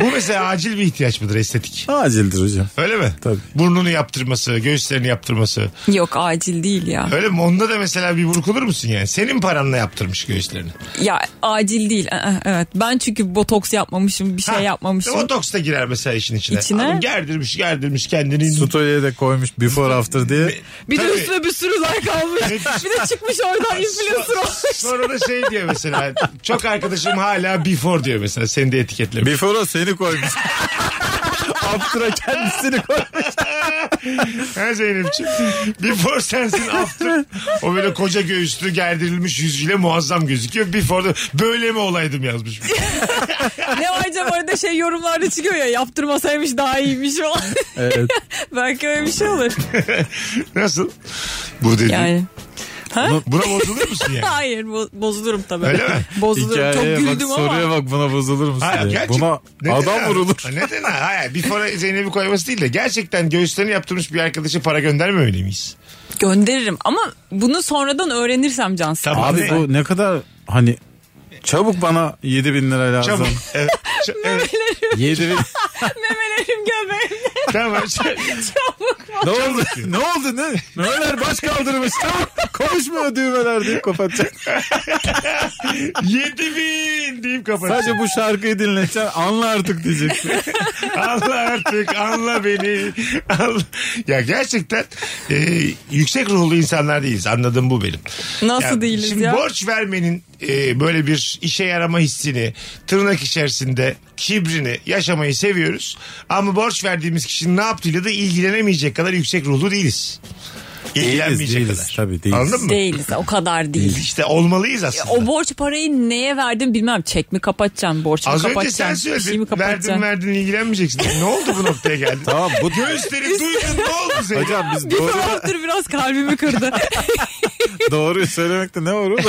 Speaker 3: Bu mesela acil bir ihtiyaç mıdır estetik?
Speaker 5: Acildir hocam.
Speaker 3: Öyle mi?
Speaker 5: Tabii.
Speaker 3: Burnunu yaptırması, göğüslerini yaptırması.
Speaker 4: Yok acil değil ya.
Speaker 3: Öyle mi? Onda da mesela bir burkulur musun yani? Senin paranla yaptırmış göğüslerini.
Speaker 4: Ya acil değil. Aa, Evet. Ben çünkü botoks yapmamışım, bir şey
Speaker 3: Ha,
Speaker 4: yapmamışım.
Speaker 3: Botoks da girer mesela işin içine.
Speaker 4: İçine?
Speaker 3: Adam gerdirmiş gerdirmiş kendini.
Speaker 5: Story'e de koymuş before after diye.
Speaker 4: Bir de
Speaker 3: Tabii.
Speaker 4: üstüne bir sürü like almış. bir de çıkmış oradan influencer olmuş.
Speaker 3: Sonra da şey diyor mesela. Çok arkadaşım hala before diyor mesela. Seni de etiketlemiş.
Speaker 5: Before'a seni koymuş. After'a kendisini koymuş.
Speaker 3: Ha Zeynep'ciğim. Before sensin after. O böyle koca göğüslü gerdirilmiş yüzüyle muazzam gözüküyor. Before'da böyle mi olaydım yazmış.
Speaker 4: ne var acaba orada şey yorumlarda çıkıyor ya yaptırmasaymış daha iyiymiş falan.
Speaker 5: Evet.
Speaker 4: Belki öyle bir şey olur.
Speaker 3: Nasıl? Bu dedi.
Speaker 4: Yani.
Speaker 3: Buna bozulur musun yani?
Speaker 4: Hayır bo- bozulurum tabii.
Speaker 3: Öyle mi?
Speaker 4: Bozulurum.
Speaker 5: Hikayeye
Speaker 4: Çok
Speaker 5: bak
Speaker 4: güldüm ama.
Speaker 5: soruya bak buna bozulur musun
Speaker 3: Hayır,
Speaker 5: diye.
Speaker 3: gerçek-
Speaker 5: Ee, Buna
Speaker 3: Neden
Speaker 5: adam
Speaker 3: abi?
Speaker 5: vurulur.
Speaker 3: Ha, Neden ha? Hayır, before Zeynep'i koyması değil de gerçekten göğüslerini yaptırmış bir arkadaşa para göndermemeli miyiz?
Speaker 4: Gönderirim ama bunu sonradan öğrenirsem Cansın.
Speaker 3: Tamam.
Speaker 5: Abi
Speaker 3: Ne-
Speaker 5: bu ne kadar hani çabuk bana 7 bin lira lazım.
Speaker 3: Çabuk. Evet. Ç- evet.
Speaker 5: 7 bin.
Speaker 4: Memelerim göbeğimde
Speaker 3: Tamam. Ç-
Speaker 4: çabuk var.
Speaker 5: ne oldu? ne oldu ne? Neler baş kaldırmış çabuk. Konuşmuyor düğmeler deyip kapatacak.
Speaker 3: 7000 bin deyip kapatacağım.
Speaker 5: Sadece bu şarkıyı dinleyeceksin anla artık diyeceksin.
Speaker 3: anla artık anla beni. Anla. Ya gerçekten e, yüksek ruhlu insanlar değiliz. Anladığım bu benim.
Speaker 4: Nasıl değiliz
Speaker 3: şimdi
Speaker 4: ya?
Speaker 3: Borç vermenin e, böyle bir işe yarama hissini, tırnak içerisinde kibrini yaşamayı seviyoruz. Ama borç verdiğimiz kişinin ne yaptığıyla da ilgilenemeyecek kadar yüksek ruhlu değiliz. İlgilenmeyecek
Speaker 5: değiliz.
Speaker 3: kadar.
Speaker 5: Tabii, değiliz.
Speaker 3: Anladın mı?
Speaker 4: Değiliz o kadar değil.
Speaker 3: İşte olmalıyız aslında.
Speaker 4: O borç parayı neye verdin bilmem. Çek mi kapatacaksın, borç mu
Speaker 3: Az önce sen
Speaker 4: kapatacaksın, bir şey mi
Speaker 3: söyledin.
Speaker 4: kapatacaksın?
Speaker 3: verdin verdin ilgilenmeyeceksin. E, ne oldu bu noktaya geldin?
Speaker 5: Tamam bu
Speaker 3: Göğüsleri duydun ne oldu senin?
Speaker 5: hocam biz
Speaker 4: Bir
Speaker 5: doğru,
Speaker 4: saattir biraz kalbimi kırdı.
Speaker 5: doğruyu söylemekte ne var oğlum?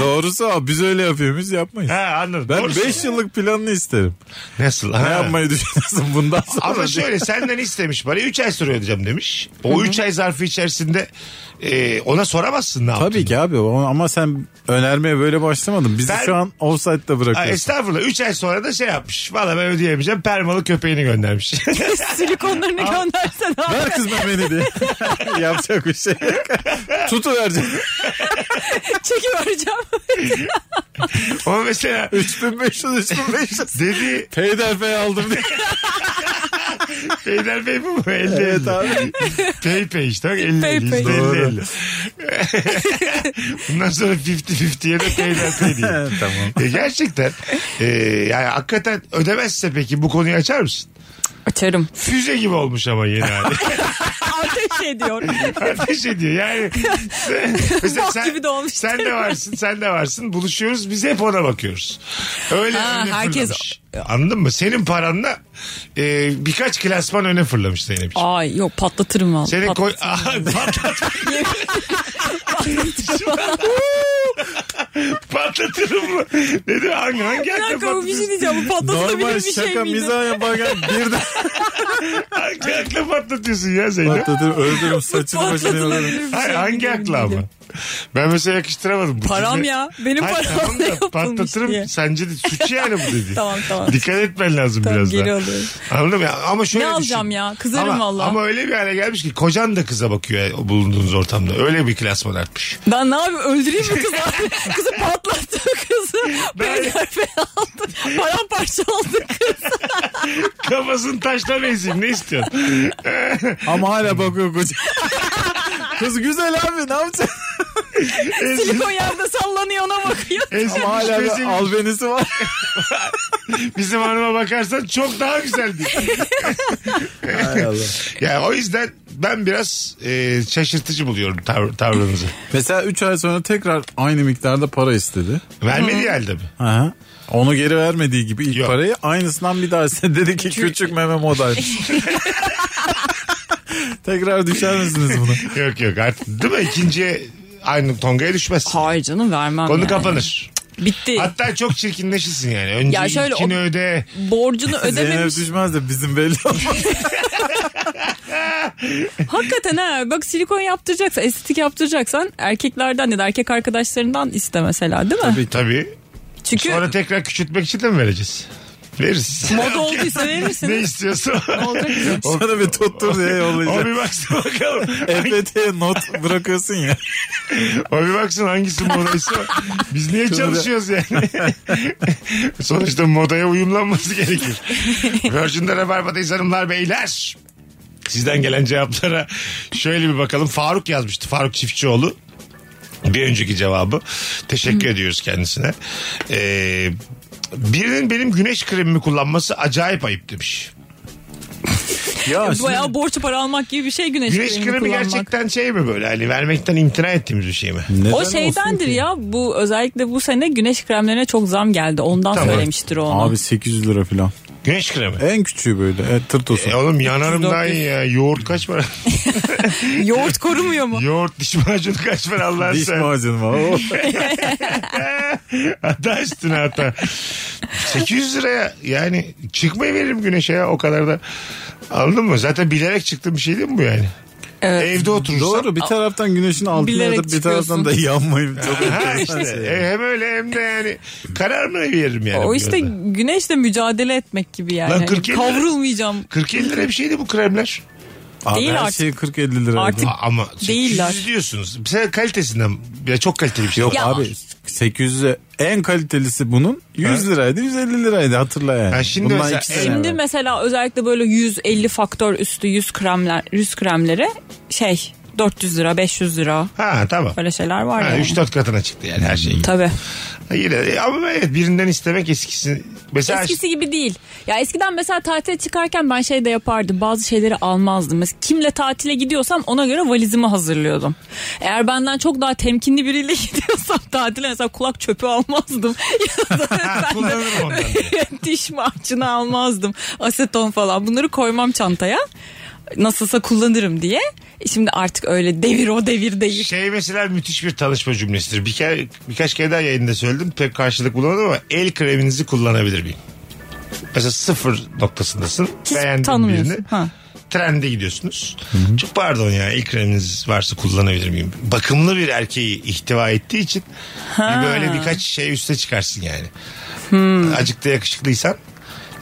Speaker 5: Doğrusu o biz öyle yapıyoruz yapmayız.
Speaker 3: Ha anladım.
Speaker 5: Ben
Speaker 3: Doğru
Speaker 5: 5 yıllık planını isterim.
Speaker 3: Nasıl? Ha.
Speaker 5: Ne yapmayı düşünüyorsun bundan sonra?
Speaker 3: Ama şöyle senden istemiş parayı 3 ay sonra ödeyeceğim demiş. O 3 ay zarfı içerisinde e, ona soramazsın ne yaptın.
Speaker 5: Tabii ki abi o- ama sen önermeye böyle başlamadın. Bizi
Speaker 3: Ben-
Speaker 5: şu an offside'da
Speaker 3: Ha,
Speaker 5: bırakıyorsun.
Speaker 3: estağfurullah 3 ay sonra da şey yapmış. Valla ben ödeyemeyeceğim. Permalı köpeğini göndermiş.
Speaker 4: Silikonlarını göndersen abi.
Speaker 5: Ver kız memeni diye. Yapacak bir şey yok. Tutuverecek.
Speaker 4: Çekivereceğim.
Speaker 3: Ama mesela
Speaker 5: 3500, 3500.
Speaker 3: dedi
Speaker 5: Peyderpey aldım diye.
Speaker 3: Beyler Bey bu mu? 50
Speaker 5: Evet abi.
Speaker 3: Pay pay işte bak 50
Speaker 4: Pay
Speaker 3: 50
Speaker 4: pay.
Speaker 5: Doğru.
Speaker 3: 50 50. Bundan sonra 50-50'ye de peyder pay diyeyim.
Speaker 5: tamam.
Speaker 3: E, gerçekten e, yani hakikaten ödemezse peki bu konuyu açar mısın?
Speaker 4: Açarım.
Speaker 3: Füze gibi olmuş ama yeni hali.
Speaker 4: Ateş ediyor.
Speaker 3: Ateş ediyor yani. Sen,
Speaker 4: Bok gibi de olmuş.
Speaker 3: Sen de varsın sen de varsın buluşuyoruz biz hep ona bakıyoruz. Öyle
Speaker 4: Ha,
Speaker 3: öne
Speaker 4: herkes-
Speaker 3: fırlamış. Anladın mı? Senin paranla e, birkaç klasman öne fırlamış Zeynep'ciğim.
Speaker 4: Ay yok patlatırım valla.
Speaker 3: Senin koy...
Speaker 4: Patlatırım.
Speaker 3: Aa, patlat- patlatırım mı? Dedi hangi hangi
Speaker 4: Bir
Speaker 3: akla
Speaker 4: dakika bu bir şey
Speaker 3: patlatıyorsun?
Speaker 4: diyeceğim. Bu patlatılabilir
Speaker 5: Normal
Speaker 4: bir şey
Speaker 5: şaka
Speaker 4: miydi?
Speaker 5: mizah yaparken birden
Speaker 3: Hangi akla patlatıyorsun ya Zeynep?
Speaker 5: patlatırım öldürürüm
Speaker 4: Bu
Speaker 5: saçını başını
Speaker 4: patlatılabilir
Speaker 5: yolarım.
Speaker 4: bir
Speaker 3: Hayır,
Speaker 4: şey
Speaker 3: hangi
Speaker 4: miydi,
Speaker 3: akla ama?
Speaker 4: bilmiyorum.
Speaker 3: Ben mesela yakıştıramadım. Bu
Speaker 4: Param
Speaker 3: cümle-
Speaker 4: ya. Benim
Speaker 3: Hayır,
Speaker 4: param
Speaker 3: tamam da
Speaker 4: ne yapılmış
Speaker 3: Patlatırım
Speaker 4: diye.
Speaker 3: sence de suç yani bu dedi.
Speaker 4: Tamam, tamam.
Speaker 3: Dikkat etmen lazım
Speaker 4: Tamam,
Speaker 3: biraz
Speaker 4: geri
Speaker 3: daha.
Speaker 4: alıyorum.
Speaker 3: Anladım ya ama şöyle
Speaker 4: Ne
Speaker 3: düşün.
Speaker 4: alacağım ya? Kızarım
Speaker 3: ama,
Speaker 4: valla.
Speaker 3: Ama öyle bir hale gelmiş ki kocan da kıza bakıyor ya, o bulunduğunuz ortamda. Öyle bir klasman artmış.
Speaker 4: Ben ne yapayım öldüreyim mi kızı? kızı patlattı kızı. Peyderpey aldı. Paramparça aldı kız.
Speaker 3: Kafasını taşla benzeyim ne istiyorsun?
Speaker 5: Ama hala bakıyor koca. Kız güzel abi ne yapacaksın?
Speaker 4: Silikon yağda sallanıyor ona bakıyor.
Speaker 3: Ezilmiş
Speaker 5: Hala da
Speaker 3: bezilmiş.
Speaker 5: albenisi var.
Speaker 3: Bizim hanıma bakarsan çok daha güzeldi. ya o yüzden ben biraz e, şaşırtıcı buluyorum tav- tavrınızı.
Speaker 5: Mesela 3 ay sonra tekrar aynı miktarda para istedi.
Speaker 3: Vermedi halde mi?
Speaker 5: Aha. Onu geri vermediği gibi ilk
Speaker 3: Yok.
Speaker 5: parayı aynısından bir daha istedi. Dedi ki küçük meme model. Tekrar düşer misiniz buna?
Speaker 3: Yok yok artık değil mi? İkinciye aynı tongaya düşmez.
Speaker 4: Hayır canım vermem.
Speaker 3: Konu
Speaker 4: yani.
Speaker 3: kapanır.
Speaker 4: Bitti.
Speaker 3: Hatta çok çirkinleşirsin yani. Önce
Speaker 4: Ya şöyle
Speaker 3: ilkini
Speaker 4: o-
Speaker 3: öde.
Speaker 4: Borcunu
Speaker 5: Zeynep
Speaker 4: ödememiş.
Speaker 5: düşmez de bizim belli olmaz.
Speaker 4: Hakikaten ha. Bak silikon yaptıracaksan, estetik yaptıracaksan erkeklerden ya da erkek arkadaşlarından iste mesela değil mi?
Speaker 3: Tabii.
Speaker 4: Çünkü
Speaker 3: Sonra tekrar küçültmek için de mi vereceğiz? Veririz.
Speaker 4: moda olduysa
Speaker 3: ne
Speaker 4: verirsin.
Speaker 3: istiyorsun?
Speaker 4: Olacak bir şey.
Speaker 5: Sana bir tuttur diye
Speaker 3: o
Speaker 5: yollayacağım.
Speaker 3: bir baksın bakalım.
Speaker 5: EFT'ye not bırakıyorsun ya.
Speaker 3: O bir baksın hangisi modaysa. Biz niye çalışıyoruz yani? Sonuçta modaya uyumlanması gerekir. Virgin'de Rabarba'dayız hanımlar beyler. Sizden gelen cevaplara şöyle bir bakalım. Faruk yazmıştı. Faruk Çiftçioğlu. Bir önceki cevabı. Teşekkür ediyoruz kendisine. Ee, birinin benim güneş kremimi kullanması acayip ayıp demiş.
Speaker 5: Ya
Speaker 4: Bayağı borç para almak gibi bir şey güneş,
Speaker 3: Güneş
Speaker 4: kremi,
Speaker 3: kremi
Speaker 4: kullanmak.
Speaker 3: gerçekten şey mi böyle? Hani vermekten imtina ettiğimiz bir şey mi?
Speaker 4: O şeydendir ya bu özellikle bu sene güneş kremlerine çok zam geldi. Ondan
Speaker 3: Tamam.
Speaker 4: söylemiştir o onu.
Speaker 5: Abi 800 lira falan.
Speaker 3: Güneş kremi.
Speaker 5: En küçüğü böyle. E, tırt olsun.
Speaker 3: E oğlum yanarım daha iyi ya. Yoğurt kaç para?
Speaker 4: Yoğurt korumuyor mu?
Speaker 3: Yoğurt diş macunu kaç para Allah'ın
Speaker 5: Diş
Speaker 3: sen.
Speaker 5: macunu var.
Speaker 3: Hata üstüne hata. 800 liraya yani çıkmayı veririm güneşe ya o kadar da. Anladın mı? Zaten bilerek çıktığım bir şey değil mi bu yani?
Speaker 4: Evet.
Speaker 3: Evde oturursam.
Speaker 5: Doğru bir taraftan güneşin altına
Speaker 4: Bilerek
Speaker 5: yatıp bir taraftan
Speaker 4: çıkıyorsun.
Speaker 5: da yanmayayım. Çok
Speaker 3: Ha
Speaker 5: enteresan
Speaker 3: işte.
Speaker 5: şey.
Speaker 3: E, hem öyle hem de yani karar mı veririm yani?
Speaker 4: O
Speaker 3: bu
Speaker 4: işte
Speaker 3: yolda?
Speaker 4: güneşle mücadele etmek gibi yani.
Speaker 3: Lan
Speaker 4: Hani
Speaker 3: 47 lira.
Speaker 4: kavrulmayacağım.
Speaker 3: 47 lira bir şeydi bu kremler.
Speaker 5: Abi
Speaker 4: Değil
Speaker 5: her
Speaker 4: artık.
Speaker 5: şey 40-50 lira.
Speaker 4: Artık-
Speaker 3: A- Ama
Speaker 4: Değiller.
Speaker 3: 800 diyorsunuz. Mesela kalitesinden ya çok kaliteli bir şey.
Speaker 5: Yok
Speaker 4: Ya.
Speaker 5: abi 800'e en kalitelisi bunun 100 liraydı 150 liraydı hatırla yani.
Speaker 3: Ha, şimdi
Speaker 5: Bundan
Speaker 3: mesela-
Speaker 5: iki sene
Speaker 4: Şimdi
Speaker 5: evvel. E,
Speaker 4: mesela özellikle böyle 150 faktör üstü 100 kremler, 100 kremlere şey 400 lira, 500 lira
Speaker 3: Ha tamam.
Speaker 4: böyle şeyler var
Speaker 3: Ha,
Speaker 4: yani.
Speaker 3: 3-4 katına çıktı yani her şey.
Speaker 4: Tabii.
Speaker 3: Ha, Yine de- ama evet birinden istemek eskisi. Mesela
Speaker 4: Eskisi gibi değil. Ya eskiden mesela tatile çıkarken ben şey de yapardım. Bazı şeyleri almazdım. Mesela kimle tatile gidiyorsam ona göre valizimi hazırlıyordum. Eğer benden çok daha temkinli biriyle gidiyorsam tatile mesela kulak çöpü almazdım. ya da ben de
Speaker 3: kullanırım ondan.
Speaker 4: diş macunu almazdım. Aseton falan bunları koymam çantaya. Nasılsa kullanırım diye. E Şimdi artık öyle devir o devir değil.
Speaker 3: Şey mesela müthiş bir tanışma cümlesidir. Bir kere, birkaç kere daha yayında söyledim. Pek karşılık bulamadım ama el kreminizi kullanabilir miyim? Mesela sıfır noktasındasın.
Speaker 4: Hiç
Speaker 3: Beğendin
Speaker 4: tanımıyorsun.
Speaker 3: birini.
Speaker 4: Ha.
Speaker 3: Trende gidiyorsunuz. Çok pardon ya el kreminiz varsa kullanabilir miyim? Bakımlı bir erkeği ihtiva ettiği için bir böyle birkaç şey üste çıkarsın yani. Acık da yakışıklıysan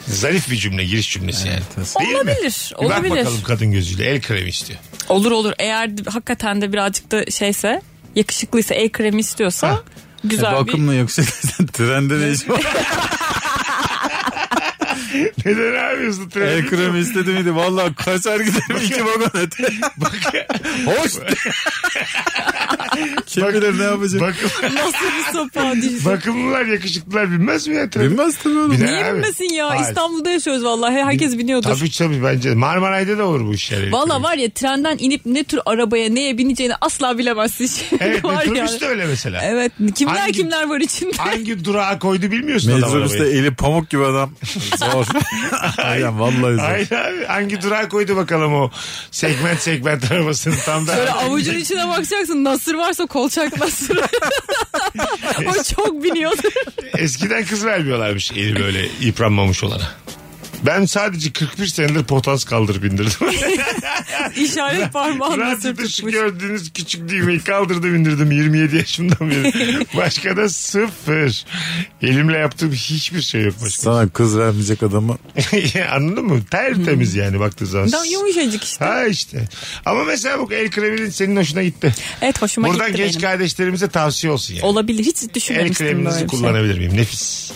Speaker 3: zarif bir cümle giriş cümlesi yani. Değil mi?
Speaker 4: Olabilir,
Speaker 3: Bir Bak
Speaker 4: olabilir.
Speaker 3: bakalım kadın gözüyle el kremi istiyor.
Speaker 4: Olur olur eğer d- hakikaten de birazcık da şeyse yakışıklıysa el kremi istiyorsa
Speaker 3: Ha. E,
Speaker 4: güzel bir...
Speaker 5: Bakımla yoksa trende ne iş var?
Speaker 3: Neden abi hızlı trende?
Speaker 5: El E, kremi istedi miydi? Valla kaçar giderim iki vagon öte. Hoş. Kim
Speaker 3: Bak-
Speaker 5: bilir ne yapacak?
Speaker 3: Bakın.
Speaker 4: Nasıl bir sopa diyeceksin.
Speaker 3: Bakımlılar yakışıklılar bilmez mi ya? trafik?
Speaker 5: Bilmez tabii oğlum.
Speaker 3: Biner
Speaker 4: Niye
Speaker 3: abi.
Speaker 4: bilmesin ya
Speaker 3: Hayır.
Speaker 4: İstanbul'da yaşıyoruz vallahi herkes biniyordur.
Speaker 3: Tabii tabii bence. Marmaray'da da olur bu işler.
Speaker 4: Valla var ya trenden inip ne tür arabaya neye bineceğini asla bilemezsin. Şimdi
Speaker 3: Evet
Speaker 4: var
Speaker 3: metrobüs
Speaker 4: yani.
Speaker 3: de öyle mesela.
Speaker 4: Evet kimler
Speaker 3: Hangi-
Speaker 4: kimler var içinde.
Speaker 3: Hangi durağa koydu bilmiyorsun adam
Speaker 5: Metrobüste
Speaker 3: arabayı.
Speaker 5: eli pamuk gibi adam. Zor. Aynen vallahi zor.
Speaker 3: Hayır abi hangi durağa koydu bakalım o segment segment arabasını tam da.
Speaker 4: Böyle avucun içine bakacaksın. Nasır varsa kolçak nasır. o çok biniyordur.
Speaker 3: Eskiden kız vermiyorlarmış eli böyle yıpranmamış olana. Ben sadece 41 senedir potans kaldır bindirdim.
Speaker 4: İşaret parmağını
Speaker 3: Radyo
Speaker 4: nasır
Speaker 3: dışı
Speaker 4: tutmuş.
Speaker 3: gördüğünüz küçük düğmeyi kaldırdım indirdim 27 yaşımdan beri. Başka da sıfır. Elimle yaptığım hiçbir şey yok başka.
Speaker 5: Sana kız vermeyecek adamı.
Speaker 3: Anladın mı? Tertemiz yani baktığı zaman.
Speaker 4: Tam yumuşacık Hmm. işte.
Speaker 3: Ha işte. Ama mesela bu el kreminin senin hoşuna gitti.
Speaker 4: Evet hoşuma
Speaker 3: Buradan
Speaker 4: gitti
Speaker 3: genç
Speaker 4: benim.
Speaker 3: kardeşlerimize tavsiye olsun yani.
Speaker 4: Olabilir. Hiç
Speaker 3: el
Speaker 4: düşünmemiştim böyle
Speaker 3: kreminizi
Speaker 4: bir şey.
Speaker 3: kullanabilir miyim? Nefis.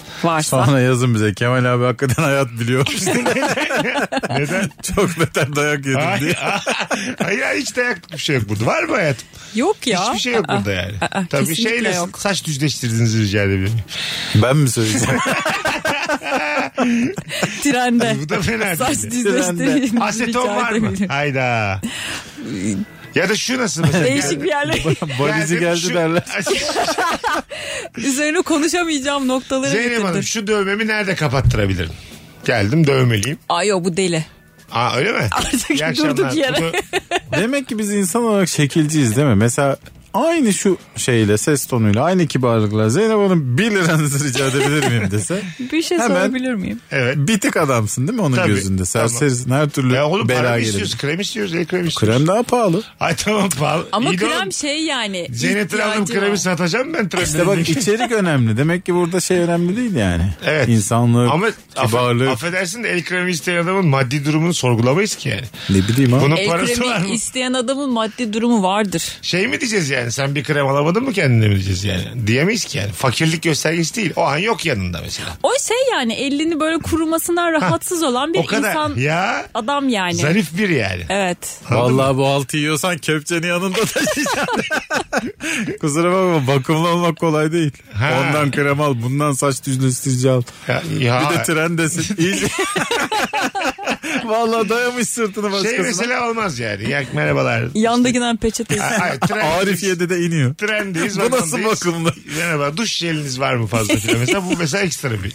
Speaker 4: Varsa.
Speaker 5: Sonra yazın bize. Kemal abi hakikaten hayat biliyor.
Speaker 3: gitmiştim. Neden?
Speaker 5: Çok beter dayak yedim
Speaker 3: Hayır,
Speaker 5: diye.
Speaker 3: hayır, hayır, hiç dayak bir şey yok burada. Var mı hayatım?
Speaker 4: Yok ya.
Speaker 3: Hiçbir şey yok
Speaker 4: Aa,
Speaker 3: burada yani.
Speaker 4: aa,
Speaker 3: Tabii
Speaker 4: kesinlikle
Speaker 3: şeyle
Speaker 4: yok.
Speaker 3: saç düzleştirdiğinizi rica edebilirim.
Speaker 5: Ben mi söyleyeceğim?
Speaker 4: Trende.
Speaker 3: Bu da fena
Speaker 4: Saç
Speaker 3: değil.
Speaker 4: düzleştirin.
Speaker 3: Aseton var mı? Hayda. Ya da şu nasıl mesela?
Speaker 4: Değişik bir yerle
Speaker 5: Valizi
Speaker 3: Geldim,
Speaker 5: geldi
Speaker 3: şu-
Speaker 5: derler.
Speaker 4: üzerine konuşamayacağım noktaları
Speaker 3: Zeynep Hanım
Speaker 4: getirdin.
Speaker 3: şu dövmemi nerede kapattırabilirim? Geldim dövmeliyim.
Speaker 4: Ay o bu deli.
Speaker 3: Aa öyle mi?
Speaker 4: Artık
Speaker 3: İyi akşamlar.
Speaker 4: durduk yere.
Speaker 3: Bunu-
Speaker 5: Demek ki biz insan olarak şekilciyiz değil mi? Mesela aynı şu şeyle ses tonuyla aynı kibarlıkla Zeynep Hanım 1 liranızı rica edebilir miyim dese.
Speaker 4: Bir şey
Speaker 5: Hemen-
Speaker 4: sorabilir miyim?
Speaker 3: Evet.
Speaker 5: Bitik adamsın değil mi onun
Speaker 3: Tabii.
Speaker 5: gözünde? Serserisin her türlü
Speaker 3: Ya oğlum para
Speaker 5: bela
Speaker 3: mı
Speaker 5: gelir.
Speaker 3: istiyoruz? Krem istiyoruz. El krem istiyoruz.
Speaker 5: Krem daha pahalı.
Speaker 3: Ay tamam pahalı.
Speaker 4: Ama
Speaker 3: İyi de oğlum.
Speaker 4: krem şey yani.
Speaker 3: Zeynep
Speaker 4: ihtiyacı
Speaker 3: Hanım kremi
Speaker 4: var.
Speaker 3: satacağım ben trende.
Speaker 5: İşte bak içerik önemli. Demek ki burada şey önemli değil yani.
Speaker 3: Evet.
Speaker 5: İnsanlık,
Speaker 3: Ama
Speaker 5: kibarlık.
Speaker 3: affe- affedersin de el kremi isteyen adamın maddi durumunu sorgulamayız ki yani.
Speaker 5: Ne bileyim ha.
Speaker 3: Bunun
Speaker 4: El
Speaker 3: parası
Speaker 4: kremi
Speaker 3: var mı?
Speaker 4: isteyen adamın maddi durumu vardır.
Speaker 3: Şey mi diyeceğiz yani sen bir krem alamadın mı kendine mi diyeceğiz yani. Diyemeyiz ki yani. Fakirlik göstergesi değil. O an yok yanında mesela.
Speaker 4: O şey yani elini böyle kurumasından rahatsız olan bir
Speaker 3: o kadar.
Speaker 4: insan
Speaker 3: ya
Speaker 4: adam yani.
Speaker 3: zarif bir yani.
Speaker 4: Evet.
Speaker 5: Vallahi bu altı yiyorsan kepçeni yanında taşıyacaksın. Kusura bakma bakımlı olmak kolay değil.
Speaker 3: Ha.
Speaker 5: Ondan krem al, bundan saç düzleştirici al.
Speaker 3: Ya, ya.
Speaker 5: Bir de trendesin. İyice. Vallahi dayamış sırtını
Speaker 3: şey
Speaker 5: başkasına.
Speaker 3: mesela olmaz yani. Ya, merhabalar.
Speaker 4: Yandakinden peçetesi.
Speaker 3: Ay, ay, tren-
Speaker 5: Arifiye'de de iniyor.
Speaker 3: Trendeyiz.
Speaker 5: Bu nasıl
Speaker 3: vagondayız.
Speaker 5: bakımlı?
Speaker 3: Merhaba duş jeliniz var mı fazla filan. Mesela bu mesela ekstra bir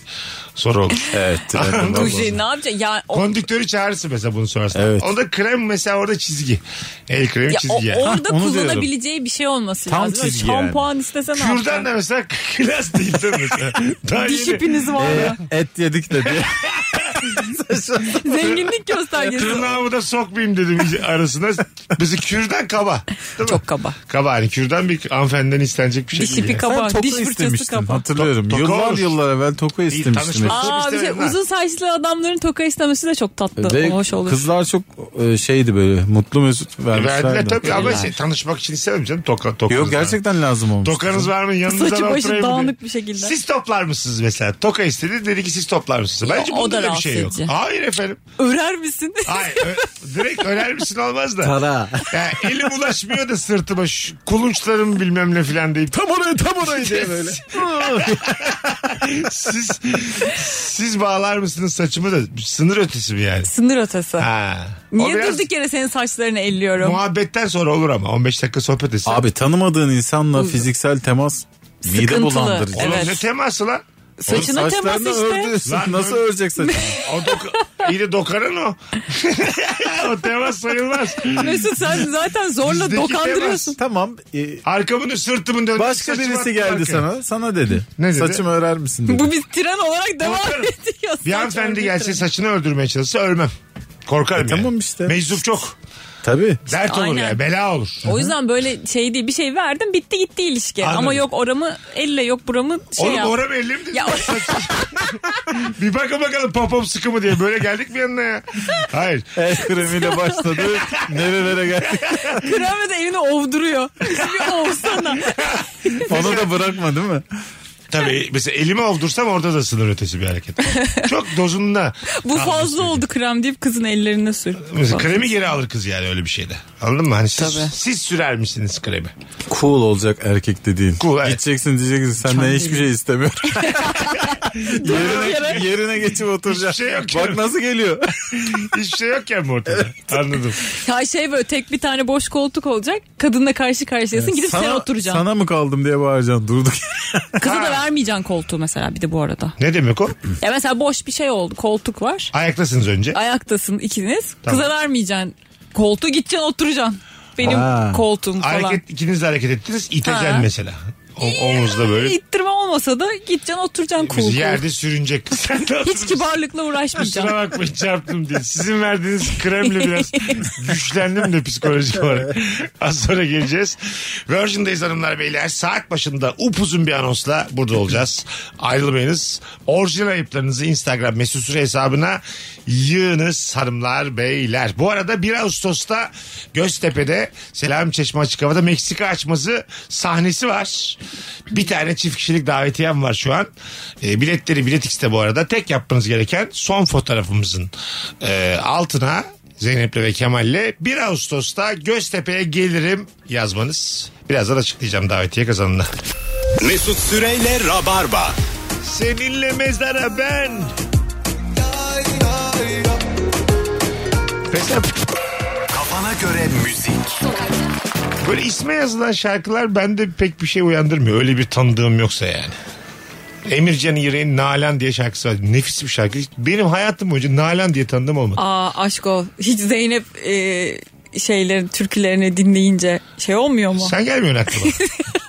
Speaker 3: soru olur.
Speaker 5: Evet.
Speaker 3: şey
Speaker 4: Duji ne yapacak? Ya, o,
Speaker 3: Konduktörü çağırırsın mesela bunu sonrasında.
Speaker 5: Evet.
Speaker 3: Onda krem mesela orada çizgi. El kremi
Speaker 4: ya o-
Speaker 3: çizgi yani.
Speaker 4: orada
Speaker 5: Hah, onu
Speaker 4: kullanabileceği bir şey olması
Speaker 5: Tam
Speaker 4: lazım. Böyle
Speaker 5: çizgi yani.
Speaker 4: Şampuan istesen
Speaker 3: Kürdan da mesela klas değil de mesela. Daha
Speaker 4: Diş
Speaker 3: yeni
Speaker 4: ipiniz var ya.
Speaker 5: Et yedik de diye.
Speaker 4: Zenginlik göstergesi.
Speaker 3: Tırnağımı da sokmayayım dedim iyice arasına. Bizi kürdan kaba. Değil mi?
Speaker 4: Çok kaba.
Speaker 3: Kaba hani kürdan bir hanımefendiden istenecek bir şey
Speaker 4: Diş
Speaker 3: değil.
Speaker 4: ipi
Speaker 3: yani.
Speaker 4: kaba.
Speaker 5: Ben toka
Speaker 4: diş fırçası
Speaker 5: istemiştim.
Speaker 4: kaba.
Speaker 5: Hatırlıyorum.
Speaker 3: Toka
Speaker 5: yıllar
Speaker 3: olur.
Speaker 5: yıllar evvel toka istemiştim.
Speaker 3: tanışma.
Speaker 4: Aa bir şey
Speaker 3: İstemem ben.
Speaker 4: uzun saçlı adamların toka istemesi de çok tatlı.
Speaker 5: Ve
Speaker 4: hoş olur.
Speaker 5: E, kızlar çok e, şeydi böyle mutlu mesut
Speaker 3: Verdiler
Speaker 5: vermişlerdi.
Speaker 3: tabii ama şey, tanışmak için istemem canım. Toka, tokanız
Speaker 5: Yok gerçekten lazım olmuş.
Speaker 3: Var. Tokanız var mı? Yanınızda
Speaker 4: Saçı
Speaker 3: da
Speaker 4: başı
Speaker 3: oturayım mı?
Speaker 4: dağınık bir şekilde.
Speaker 3: Siz toplar mısınız mesela? Toka istedi dedi ki siz toplar mısınız? Bence
Speaker 4: o
Speaker 3: bunda
Speaker 4: da
Speaker 3: da bir şey yok.
Speaker 4: rahatsız edici.
Speaker 3: Hayır efendim.
Speaker 4: Örer misin?
Speaker 3: Hayır. ö- direkt öler misin olmaz da.
Speaker 5: Tara.
Speaker 3: Ya elim ulaşmıyor da sırtıma şu kulunçlarım bilmem ne filan deyip.
Speaker 5: Tam oraya tam oraya diye böyle.
Speaker 3: Siz siz bağlar mısınız saçımı da sınır ötesi mi yani?
Speaker 4: Sınır ötesi.
Speaker 3: Ha. O
Speaker 4: Niye
Speaker 3: biraz
Speaker 4: durduk yere senin saçlarını elliyorum?
Speaker 3: Muhabbetten sonra olur ama 15 dakika sohbet etsin.
Speaker 5: Abi tanımadığın insanla fiziksel temas mide
Speaker 4: Sıkıntılı.
Speaker 5: bulandırıcı.
Speaker 3: Oğlum
Speaker 4: evet.
Speaker 3: ne teması lan?
Speaker 4: Saçına temas
Speaker 5: Saçlarını
Speaker 4: işte.
Speaker 5: ördü.
Speaker 3: Lan
Speaker 5: Nasıl
Speaker 3: öyle-
Speaker 5: örecek saçını?
Speaker 3: O doka- iyi de dokaran o. o temas sayılmaz.
Speaker 4: Mesut sen zaten zorla
Speaker 3: Bizdeki şey
Speaker 4: dokandırıyorsun.
Speaker 5: tamam. e,
Speaker 3: Arkamın sırtımın döndü.
Speaker 5: başka
Speaker 3: saçımı
Speaker 5: birisi
Speaker 3: attım
Speaker 5: geldi
Speaker 3: arkaya.
Speaker 5: sana. Sana dedi.
Speaker 3: Ne dedi?
Speaker 5: Saçımı örer misin dedi.
Speaker 4: Bu bir tren olarak devam
Speaker 3: Korkarım.
Speaker 4: ediyor.
Speaker 3: Bir
Speaker 4: Saç
Speaker 3: hanımefendi
Speaker 4: örgü
Speaker 3: gelse
Speaker 4: treni.
Speaker 3: saçını öldürmeye çalışsa ölmem. Korkarım
Speaker 5: E,
Speaker 3: yani.
Speaker 5: tamam işte.
Speaker 3: Meczup çok.
Speaker 5: Tabii.
Speaker 3: Dert olur
Speaker 4: Aynen.
Speaker 3: ya. Bela olur.
Speaker 4: O yüzden böyle şey değil bir şey verdim bitti gitti ilişki.
Speaker 3: Anladım.
Speaker 4: Ama yok oramı elle yok buramı şey
Speaker 3: Oğlum
Speaker 4: yap.
Speaker 3: oram elli mi dedin?
Speaker 4: Ya-
Speaker 3: bir bakın bakalım popom sıkı mı diye. Böyle geldik mi yanına ya? Hayır.
Speaker 5: El kremiyle başladı. Nerelere geldi.
Speaker 4: Kremi de elini ovduruyor. Bir ovsana.
Speaker 5: Onu da bırakma değil mi?
Speaker 3: Tabii mesela elimi ovdursam orada da sınır ötesi bir hareket. Çok dozunda.
Speaker 4: Bu
Speaker 3: kalmış
Speaker 4: fazla
Speaker 3: yani.
Speaker 4: oldu krem deyip kızın ellerine sür.
Speaker 3: Mesela kremi geri alır kız yani öyle bir şeyde. Anladın mı? Hani siz,
Speaker 4: Tabii.
Speaker 3: siz sürer misiniz kremi?
Speaker 5: Cool olacak erkek dediğin.
Speaker 3: Cool, evet.
Speaker 5: Gideceksin diyeceksin senden hiçbir şey istemiyorum.
Speaker 4: Yere-
Speaker 5: yerine, yerine geçip oturacaksın.
Speaker 3: Hiçbir şey yok canım.
Speaker 5: Bak nasıl geliyor.
Speaker 3: Hiçbir şey yok yani bu ortada. Anladım.
Speaker 4: Ya şey böyle tek bir tane boş koltuk olacak. Kadınla karşı karşıyasın gidip sen oturacaksın.
Speaker 5: Sana mı kaldım diye bağıracaksın durduk.
Speaker 4: Kıza da vermeyeceksin koltuğu mesela bir de bu arada.
Speaker 3: Ne demek o?
Speaker 4: Ya mesela boş bir şey oldu koltuk var.
Speaker 3: Ayaktasınız önce.
Speaker 4: Ayaktasın ikiniz.
Speaker 3: Tamam.
Speaker 4: Kıza vermeyeceksin koltuğu gideceksin oturacaksın. Benim
Speaker 5: Ha.
Speaker 4: koltuğum falan.
Speaker 3: Hareket, ikiniz de hareket ettiniz. İteceksin
Speaker 4: Ha.
Speaker 3: mesela. O, omuzda böyle.
Speaker 4: İttirme olmasa da gideceksin oturacaksın
Speaker 3: Biz
Speaker 4: cool cool.
Speaker 3: yerde sürünecek. Sen de
Speaker 4: Hiç
Speaker 3: oturursun.
Speaker 4: kibarlıkla
Speaker 3: Kusura
Speaker 4: uğraşmayacaksın.
Speaker 3: bakmayın çarptım diye. Sizin verdiğiniz kremle biraz güçlendim de psikolojik olarak. Az sonra geleceğiz. Virgin'dayız hanımlar beyler. Saat başında upuzun bir anonsla burada olacağız. Ayrılmayınız. Orijinal ayıplarınızı Instagram mesut süre hesabına yığınız hanımlar beyler. Bu arada 1 Ağustos'ta Göztepe'de Selam Çeşme Açık Hava'da Meksika açması sahnesi var. Bir tane çift kişilik davetiyem var şu an. E, biletleri Bilet X'te bu arada. Tek yapmanız gereken son fotoğrafımızın e, altına Zeynep'le ve Kemal'le 1 Ağustos'ta Göztepe'ye gelirim yazmanız. Birazdan açıklayacağım davetiye kazanını.
Speaker 2: Mesut Süreyle Rabarba.
Speaker 3: Seninle mezara ben. Mesela
Speaker 2: Kafana göre müzik.
Speaker 3: böyle isme yazılan şarkılar bende pek bir şey uyandırmıyor. Öyle bir tanıdığım yoksa yani. Emircan İğrek'in Nalan diye şarkısı var. Nefis bir şarkı. Benim hayatım boyunca Nalan diye tanıdığım olmadı.
Speaker 4: Aa aşk o. Hiç Zeynep e, şeylerin türkülerini dinleyince şey olmuyor mu?
Speaker 3: Sen gelmiyorsun aklıma.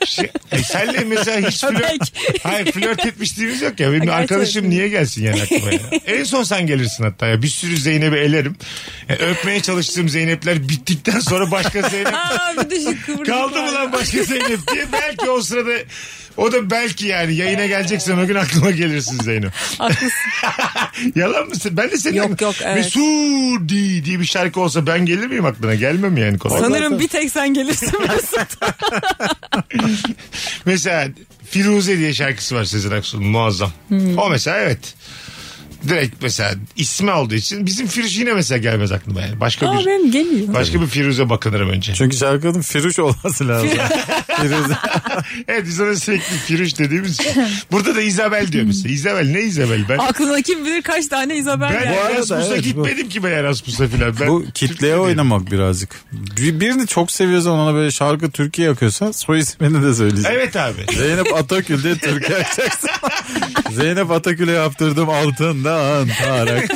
Speaker 3: Şey, e, senle mesela hiç flört,
Speaker 4: Belki.
Speaker 3: hayır, flört etmişliğimiz yok ya. Benim
Speaker 4: Gerçi
Speaker 3: arkadaşım
Speaker 4: evet.
Speaker 3: niye gelsin yani aklıma ya? En son sen gelirsin hatta ya. Bir sürü Zeynep'i elerim. E, öpmeye çalıştığım Zeynep'ler bittikten sonra başka Zeynep
Speaker 4: Aa bir de şu kıvırcık
Speaker 3: Kaldı mı
Speaker 4: var.
Speaker 3: lan başka Zeynep diye. Belki o sırada o da belki yani yayına geleceksen o gün aklıma gelirsin Zeynep.
Speaker 4: Haklısın.
Speaker 3: Yalan mısın? Ben de senin
Speaker 4: Yok, yok, evet.
Speaker 3: Mesudi diye bir şarkı olsa ben gelir miyim aklına? Gelmem yani kolay.
Speaker 4: Sanırım bir tek sen gelirsin Mesut.
Speaker 3: Mesela Firuze diye şarkısı var Sezen Aksu'nun muazzam.
Speaker 4: Hmm.
Speaker 3: O mesela evet. Direkt mesela ismi olduğu için bizim Firuze yine mesela gelmez aklıma yani. Başka
Speaker 4: Aa
Speaker 3: bir
Speaker 4: benim geliyor.
Speaker 3: başka bir Firuze bakınırım önce.
Speaker 5: Çünkü şarkının Firuş olması lazım. Firuze.
Speaker 3: Evet biz ona sürekli Firuş dediğimiz için. Burada da İzabel diyor mesela. İzabel ne İzabel? Ben
Speaker 4: Aklına kim bilir kaç tane Isabel
Speaker 3: Ben
Speaker 4: geldi.
Speaker 5: arada
Speaker 3: Erasmus'a
Speaker 5: evet, bu-
Speaker 3: gitmedim ki ben Erasmus'a filan. Ben
Speaker 5: Bu
Speaker 3: Türkiye'de-
Speaker 5: kitleye oynamak birazcık. Bir, birini çok seviyorsan ona böyle şarkı Türkiye yakıyorsan soy ismini de söyleyeceksin.
Speaker 3: Evet abi.
Speaker 5: Zeynep Atakül diye Türkiye yakacaksın. Zeynep Atakül'e yaptırdım altından tarak.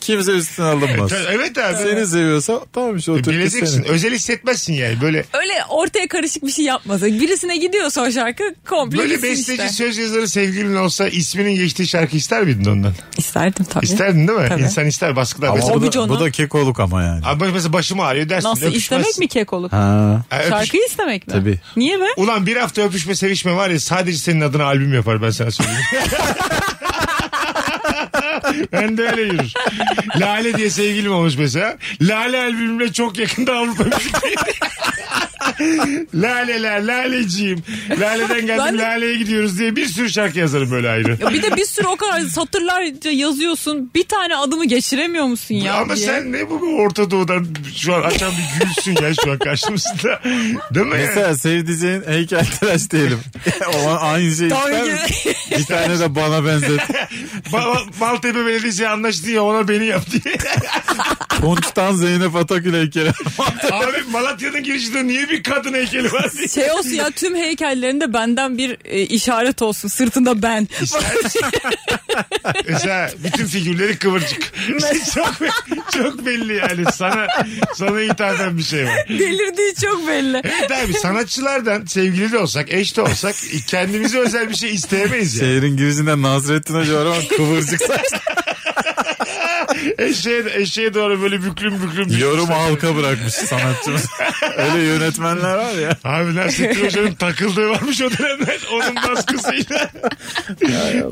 Speaker 5: Kimse üstüne alınmaz.
Speaker 3: Evet abi. E,
Speaker 5: Seni seviyorsa tamam işte o türkü
Speaker 3: Bileceksin.
Speaker 5: senin.
Speaker 3: Özel hissetmezsin yani. Böyle
Speaker 4: Öyle ortaya karışık bir şey yapmasa. Birisine gidiyorsa o şarkı komple
Speaker 3: böyle
Speaker 4: gitsin
Speaker 3: besteci
Speaker 4: işte.
Speaker 3: söz yazarı sevgilin olsa isminin geçtiği şarkı ister miydin ondan?
Speaker 4: İsterdim tabii.
Speaker 3: İsterdin değil mi?
Speaker 4: Tabii.
Speaker 3: İnsan ister baskılar.
Speaker 5: Ama
Speaker 3: Mesela,
Speaker 4: Tabii
Speaker 5: bu da,
Speaker 4: canım.
Speaker 5: bu da kekoluk ama yani.
Speaker 3: abi mesela başım ağrıyor dersin.
Speaker 4: Nasıl
Speaker 3: öpüşmez.
Speaker 4: istemek mi kekoluk?
Speaker 5: Ha.
Speaker 3: Ha, öpüş-
Speaker 4: Şarkıyı istemek mi?
Speaker 5: Tabii.
Speaker 4: Niye be?
Speaker 3: Ulan bir hafta öpüşme sevişme var ya sadece senin adına albüm yapar ben sana söyleyeyim. ben de öyle yürür. Lale diye sevgilim olmuş mesela. Lale albümüyle çok yakında Avrupa müziği. Laleler, laleciyim. Laleden
Speaker 4: Ben
Speaker 3: geldim,
Speaker 4: de-
Speaker 3: laleye gidiyoruz diye bir sürü şarkı yazarım böyle ayrı.
Speaker 4: Ya bir de bir sürü o kadar satırlarca yazıyorsun. Bir tane adımı geçiremiyor musun ya?
Speaker 3: Ama
Speaker 4: diye.
Speaker 3: sen ne bu Orta Doğu'dan şu an açan bir gülsün ya şu an karşımızda. Değil mi?
Speaker 5: Mesela sevdiceğin heykeltıraş diyelim. o aynı şey
Speaker 4: Daha
Speaker 5: ister
Speaker 4: önce-
Speaker 5: misin? Bir tane de bana benzet.
Speaker 3: Ba- Maltepe Belediyesi anlaştı ya ona beni yap diye.
Speaker 5: Konçtan Zeynep Atakül heykeli.
Speaker 3: Abi Malatya'nın girişinde niye bir kadın heykeli var diye.
Speaker 4: şey olsun ya tüm heykellerinde benden bir e, işaret olsun. Sırtında ben.
Speaker 3: Mesela bütün figürleri kıvırcık. çok, be- çok belli yani sana sana hitap bir şey var.
Speaker 4: Delirdiği çok belli.
Speaker 3: Evet abi sanatçılardan sevgili de olsak eş de olsak kendimize özel bir şey isteyemeyiz ya.
Speaker 5: Şehrin girişinde Nazrettin Hoca var ama kıvırcık saçlı.
Speaker 3: Eşeğe, eşeğe doğru böyle büklüm büklüm. şey.
Speaker 5: Yorum halka bırakmış sanatçımız. Öyle yönetmenler var ya.
Speaker 3: Abi Nasrettin Hoca'nın takıldığı varmış o dönemler. Onun baskısıyla.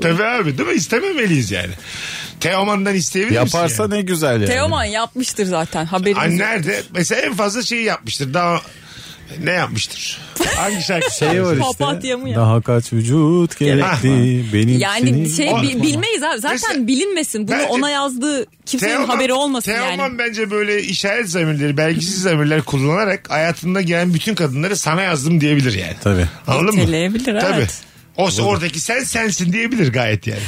Speaker 3: Tabii abi değil mi? İstememeliyiz yani. Teoman'dan isteyebilir misin?
Speaker 5: Yaparsa
Speaker 3: yani?
Speaker 5: ne güzel yani.
Speaker 4: Teoman yapmıştır zaten haberimiz.
Speaker 3: Ay,
Speaker 4: yok.
Speaker 3: nerede? Mesela en fazla şeyi yapmıştır. Daha ne yapmıştır? Hangi şarkı?
Speaker 5: Şey var işte.
Speaker 4: Papatya mı ya?
Speaker 5: Daha kaç vücut gerekti benim
Speaker 4: Yani
Speaker 5: senin-
Speaker 4: şey
Speaker 3: Olmaz,
Speaker 4: bi-
Speaker 3: olmaz.
Speaker 4: bilmeyiz abi. Zaten
Speaker 3: Mesela-
Speaker 4: bilinmesin. Bunu
Speaker 3: Bence-
Speaker 4: ona yazdığı kimsenin haberi olmasın
Speaker 3: Teoman
Speaker 4: yani.
Speaker 3: bence böyle işaret zamirleri, belgisiz zamirler kullanarak hayatında gelen bütün kadınları sana yazdım diyebilir yani.
Speaker 5: Tabii.
Speaker 3: Anladın mı?
Speaker 4: Niteleyebilir, evet.
Speaker 3: Tabii. O oradaki sen sensin diyebilir gayet yani.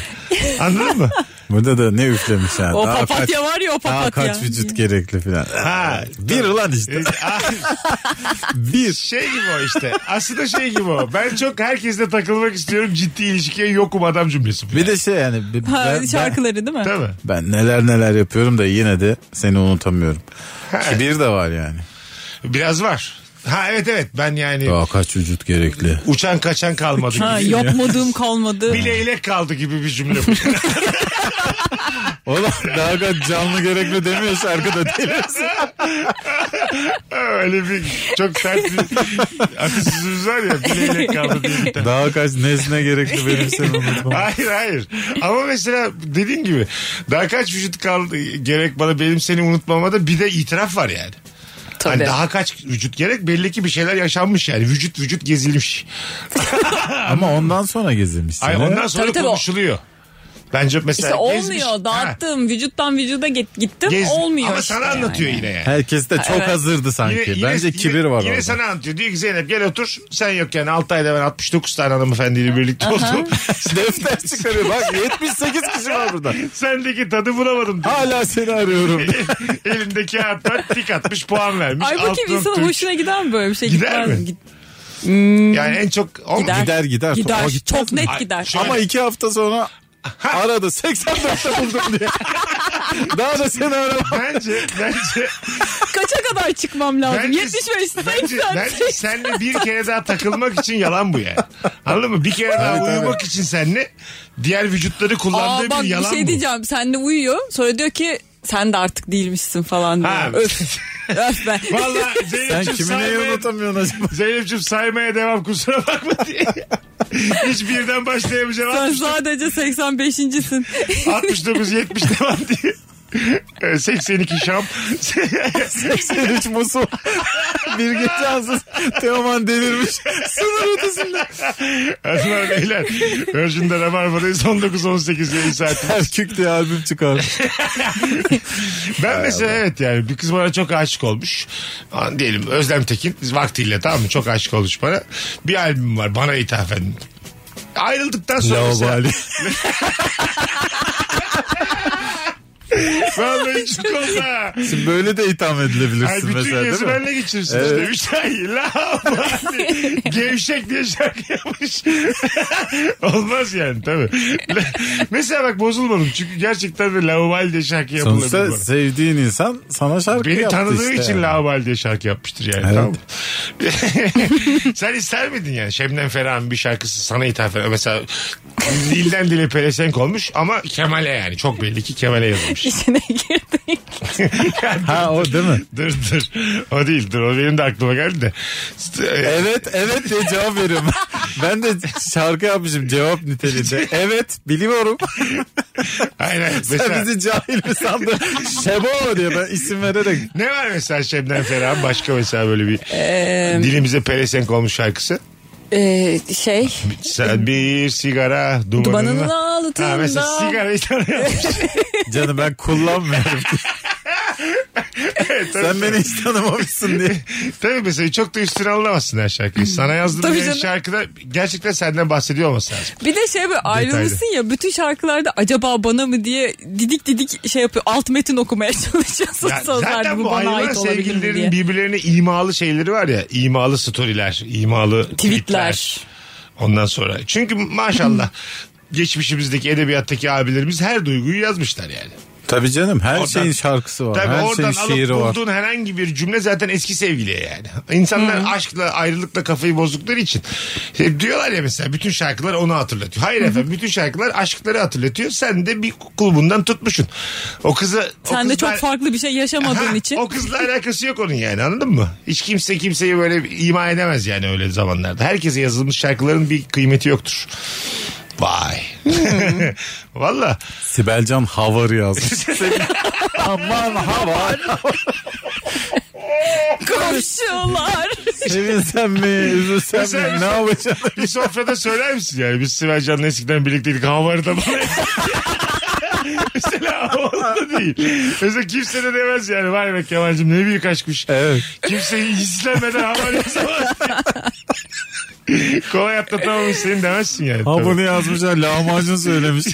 Speaker 3: Anladın mı?
Speaker 5: Burada da ne üflemiş yani.
Speaker 4: O
Speaker 5: Daha kaç-
Speaker 4: papatya var ya o
Speaker 5: Daha
Speaker 4: papatya.
Speaker 5: kaç vücut gerekli filan.
Speaker 3: Ha,
Speaker 5: Bir lan işte. Bir.
Speaker 3: şey gibi o işte. Aslında şey gibi o. Ben çok herkesle takılmak istiyorum. Ciddi ilişkiye yokum adam cümlesi. bu.
Speaker 5: Bir de şey yani. bi-
Speaker 4: Ha,
Speaker 5: ben-
Speaker 4: şarkıları değil mi?
Speaker 3: Değil mi?
Speaker 5: Ben neler neler yapıyorum da yine de seni unutamıyorum. Kibir de var yani.
Speaker 3: Biraz var. Ha evet evet. Ben yani
Speaker 5: Daha kaç vücut gerekli.
Speaker 3: uçan kaçan kalmadı
Speaker 4: Ha,
Speaker 3: gibi.
Speaker 4: yapmadığım kalmadı.
Speaker 3: Bileylek kaldı gibi bir cümle bu.
Speaker 5: Oğlum daha kaç canlı gerekli demiyor şarkıda değil.
Speaker 3: Öyle bir çok sert bir atasözümüz var ya. Bileylek kaldı diye. bir tane.
Speaker 5: Daha kaç nesne gerekli benim seni unutmam.
Speaker 3: Hayır hayır. Ama mesela dediğin gibi daha kaç vücut kaldı gerek bana benim seni unutmamada bir de itiraf var yani. Hani
Speaker 4: Tabii.
Speaker 3: daha kaç vücut gerek belli ki bir şeyler yaşanmış yani. Vücut vücut gezilmiş.
Speaker 5: Ama ondan sonra gezilmişsin.
Speaker 3: Ay
Speaker 5: ha?
Speaker 3: ondan sonra
Speaker 4: Tabii, tabii.
Speaker 3: konuşuluyor. Bence mesela
Speaker 4: İşte olmuyor.
Speaker 3: gezmiş- Ha,
Speaker 4: Dağıttım. Vücuttan vücuda git, gittim.
Speaker 3: gez-
Speaker 4: olmuyor
Speaker 3: Ama
Speaker 4: işte
Speaker 3: sana
Speaker 4: yani.
Speaker 3: anlatıyor yine yani.
Speaker 5: Herkes de çok
Speaker 4: Evet.
Speaker 5: hazırdı sanki.
Speaker 3: Yine- yine-
Speaker 5: Bence
Speaker 3: yine-
Speaker 5: kibir var
Speaker 3: Yine
Speaker 5: orada.
Speaker 3: sana anlatıyor. Diyor ki Zeynep gel otur. Sen yokken 6 ayda ben 69 tane hanımefendiyle birlikte oldum.
Speaker 5: Defter çıkarıyor. Bak 78 kişi var burada.
Speaker 3: Sendeki tadı bulamadım. diyor.
Speaker 5: Hala seni arıyorum.
Speaker 3: Elindeki kağıttan tik atmış puan vermiş.
Speaker 4: Ay bu
Speaker 3: Alt
Speaker 4: kim
Speaker 3: nokta üç.
Speaker 4: insanın hoşuna gider mi böyle bir şey?
Speaker 3: Gider
Speaker 4: Gitmez.
Speaker 3: mi?
Speaker 4: Git-
Speaker 3: Yani en çok... Oğlum,
Speaker 4: Gider.
Speaker 5: gider gider.
Speaker 4: Gider.
Speaker 5: O gitmez
Speaker 4: Çok
Speaker 5: mi?
Speaker 4: net
Speaker 3: Ay,
Speaker 4: gider.
Speaker 3: şöyle-
Speaker 5: Ama iki hafta sonra aradı. 84'te buldum diye. Daha da seni aramam.
Speaker 3: Bence, bence,
Speaker 4: Kaça kadar çıkmam lazım?
Speaker 3: bence,
Speaker 4: 75, 80,
Speaker 3: bence, bence senle bir kere daha takılmak için yalan bu yani. Anladın mı? Bir kere daha
Speaker 5: Evet,
Speaker 3: uyumak için senle diğer vücutları kullandığı
Speaker 4: Aa bak
Speaker 3: bir
Speaker 4: bir
Speaker 3: yalan
Speaker 4: şey
Speaker 3: bu.
Speaker 4: diyeceğim. Sen de uyuyor. Sonra diyor ki sen de artık değilmişsin falan diyor.
Speaker 3: Ha.
Speaker 4: Öf. Öf ben.
Speaker 3: Valla
Speaker 5: Sen
Speaker 3: Zeynep'ciğim
Speaker 5: kimi neyi
Speaker 3: saymaya,
Speaker 5: unutamıyorsun acaba?
Speaker 3: Zeynep'ciğim saymaya devam kusura bakma diye. Hiç birden başlayamayacağım.
Speaker 4: Sen
Speaker 3: 69,
Speaker 4: sadece 85.sin.
Speaker 3: 69 70 devam diye. Ee, 82 şam.
Speaker 5: 83 musul. bir gece ansız Teoman delirmiş. Sınır ötesinde.
Speaker 3: Hanımlar beyler. Virgin'de Rabarba'dayız 19-18 yayın saati.
Speaker 5: Erkük diye albüm çıkarmış.
Speaker 3: Ben mesela evet yani bir kız bana çok aşık olmuş. An- Diyelim Özlem Tekin vaktiyle tamam mı çok aşık olmuş bana. Bir albüm var bana ithafen. Ayrıldıktan sonra
Speaker 5: Lavabo
Speaker 3: mesela-
Speaker 5: Ali.
Speaker 3: Vallahi çok oldu ha.
Speaker 5: Şimdi böyle de itham edilebilirsin
Speaker 3: Ay bütün
Speaker 5: mesela
Speaker 3: yazı
Speaker 5: değil mi?
Speaker 3: benle geçirsin
Speaker 5: Evet.
Speaker 3: işte. Üç ay lavabo Ali. Gevşek diye şarkı yapmış. Olmaz yani tabii. mesela bak bozulmadım. Çünkü gerçekten de lavabo Ali diye şarkı yapılabilir.
Speaker 5: Sonuçta
Speaker 3: bana.
Speaker 5: sevdiğin insan sana şarkı
Speaker 3: Beni
Speaker 5: yaptı
Speaker 3: tanıdığı
Speaker 5: işte.
Speaker 3: için yani. diye şarkı yapmıştır yani.
Speaker 5: Evet.
Speaker 3: Tamam. mı? Sen ister miydin yani? Şebnem Ferah'ın bir şarkısı sana hitap eden. Mesela dilden dile pelesenk olmuş ama Kemal'e yani. Çok belli ki Kemal'e yazılmış.
Speaker 4: İçine girdik.
Speaker 5: Ha o değil mi?
Speaker 3: dur dur. O değil dur. O benim de aklıma geldi de.
Speaker 5: Evet evet diye cevap veriyorum. ben de şarkı yapmışım cevap niteliğinde. Evet biliyorum.
Speaker 3: Aynen.
Speaker 5: Sen
Speaker 3: Mesela,
Speaker 5: bizi cahil mi sandın? Şebo diye ben isim vererek.
Speaker 3: Ne var mesela Şebnem Ferah'ın başka mesela böyle bir dilimize pelesenk olmuş şarkısı?
Speaker 4: Ee, şey
Speaker 3: Sen bir sigara dumanını...
Speaker 4: dumanının
Speaker 3: Ha, mesela
Speaker 4: altında.
Speaker 3: sigara yapmış.
Speaker 5: Canım ben kullanmıyorum. Sen beni hiç tanımamışsın diye.
Speaker 3: Tabii mesela çok da üstüne alınamazsın her şarkıyı. Sana yazdığım
Speaker 4: Tabii
Speaker 3: bir
Speaker 4: canım.
Speaker 3: şarkıda gerçekten senden bahsediyor olması lazım.
Speaker 4: Bir de şey böyle ayrılmışsın ya bütün şarkılarda acaba bana mı diye didik didik şey yapıyor. Alt metin okumaya çalışıyorsun
Speaker 3: Ya
Speaker 4: sözlerde
Speaker 3: zaten
Speaker 4: bu
Speaker 3: bu
Speaker 4: bana
Speaker 3: ayrılan
Speaker 4: ait olabilir mi
Speaker 3: sevgililerin
Speaker 4: diye.
Speaker 3: birbirlerine imalı şeyleri var ya. imalı storyler, imalı tweetler.
Speaker 4: Tweetler.
Speaker 3: Ondan sonra. Çünkü maşallah geçmişimizdeki edebiyattaki abilerimiz her duyguyu yazmışlar yani.
Speaker 5: Tabii canım her
Speaker 3: Oradan-
Speaker 5: şeyin şarkısı var.
Speaker 3: Tabii
Speaker 5: her
Speaker 3: oradan
Speaker 5: şeyin
Speaker 3: alıp
Speaker 5: şiiri var.
Speaker 3: bulduğun herhangi bir cümle zaten eski sevgiliye yani. İnsanlar aşkla ayrılıkla kafayı bozdukları için. Hep diyorlar ya mesela bütün şarkılar onu hatırlatıyor. Hayır efendim bütün şarkılar aşkları hatırlatıyor. Sen de bir kulbundan tutmuşsun. O kızı... o
Speaker 4: Sen de
Speaker 3: kızla-
Speaker 4: çok farklı bir şey yaşamadığın
Speaker 3: Ha,
Speaker 4: için.
Speaker 3: O kızla alakası yok onun yani anladın mı? Hiç kimse kimseyi böyle ima edemez yani öyle zamanlarda. Herkese yazılmış şarkıların bir kıymeti yoktur. Vay. Valla.
Speaker 5: Sibelcan Havar yazmış.
Speaker 3: Şey
Speaker 5: Aman Havar.
Speaker 4: Komşular.
Speaker 5: Sevinsen mi? Üzülsen
Speaker 3: Mesela-
Speaker 5: mi? Ne yapacaksın?
Speaker 3: Bir sofrada söyler misin yani? Biz Sibel Can'la eskiden birlikteydik. Havarı da bana Mesela o oldu değil. Mesela kimse de demez yani. Vay be Kemal'cim ne büyük aşkmış.
Speaker 5: Evet.
Speaker 3: Kimseyi hislenmeden havar yazamaz. Kolay atlatamamış seni demezsin yani.
Speaker 5: Ha
Speaker 3: Tabii.
Speaker 5: bunu yazmışlar lahmacun söylemiş.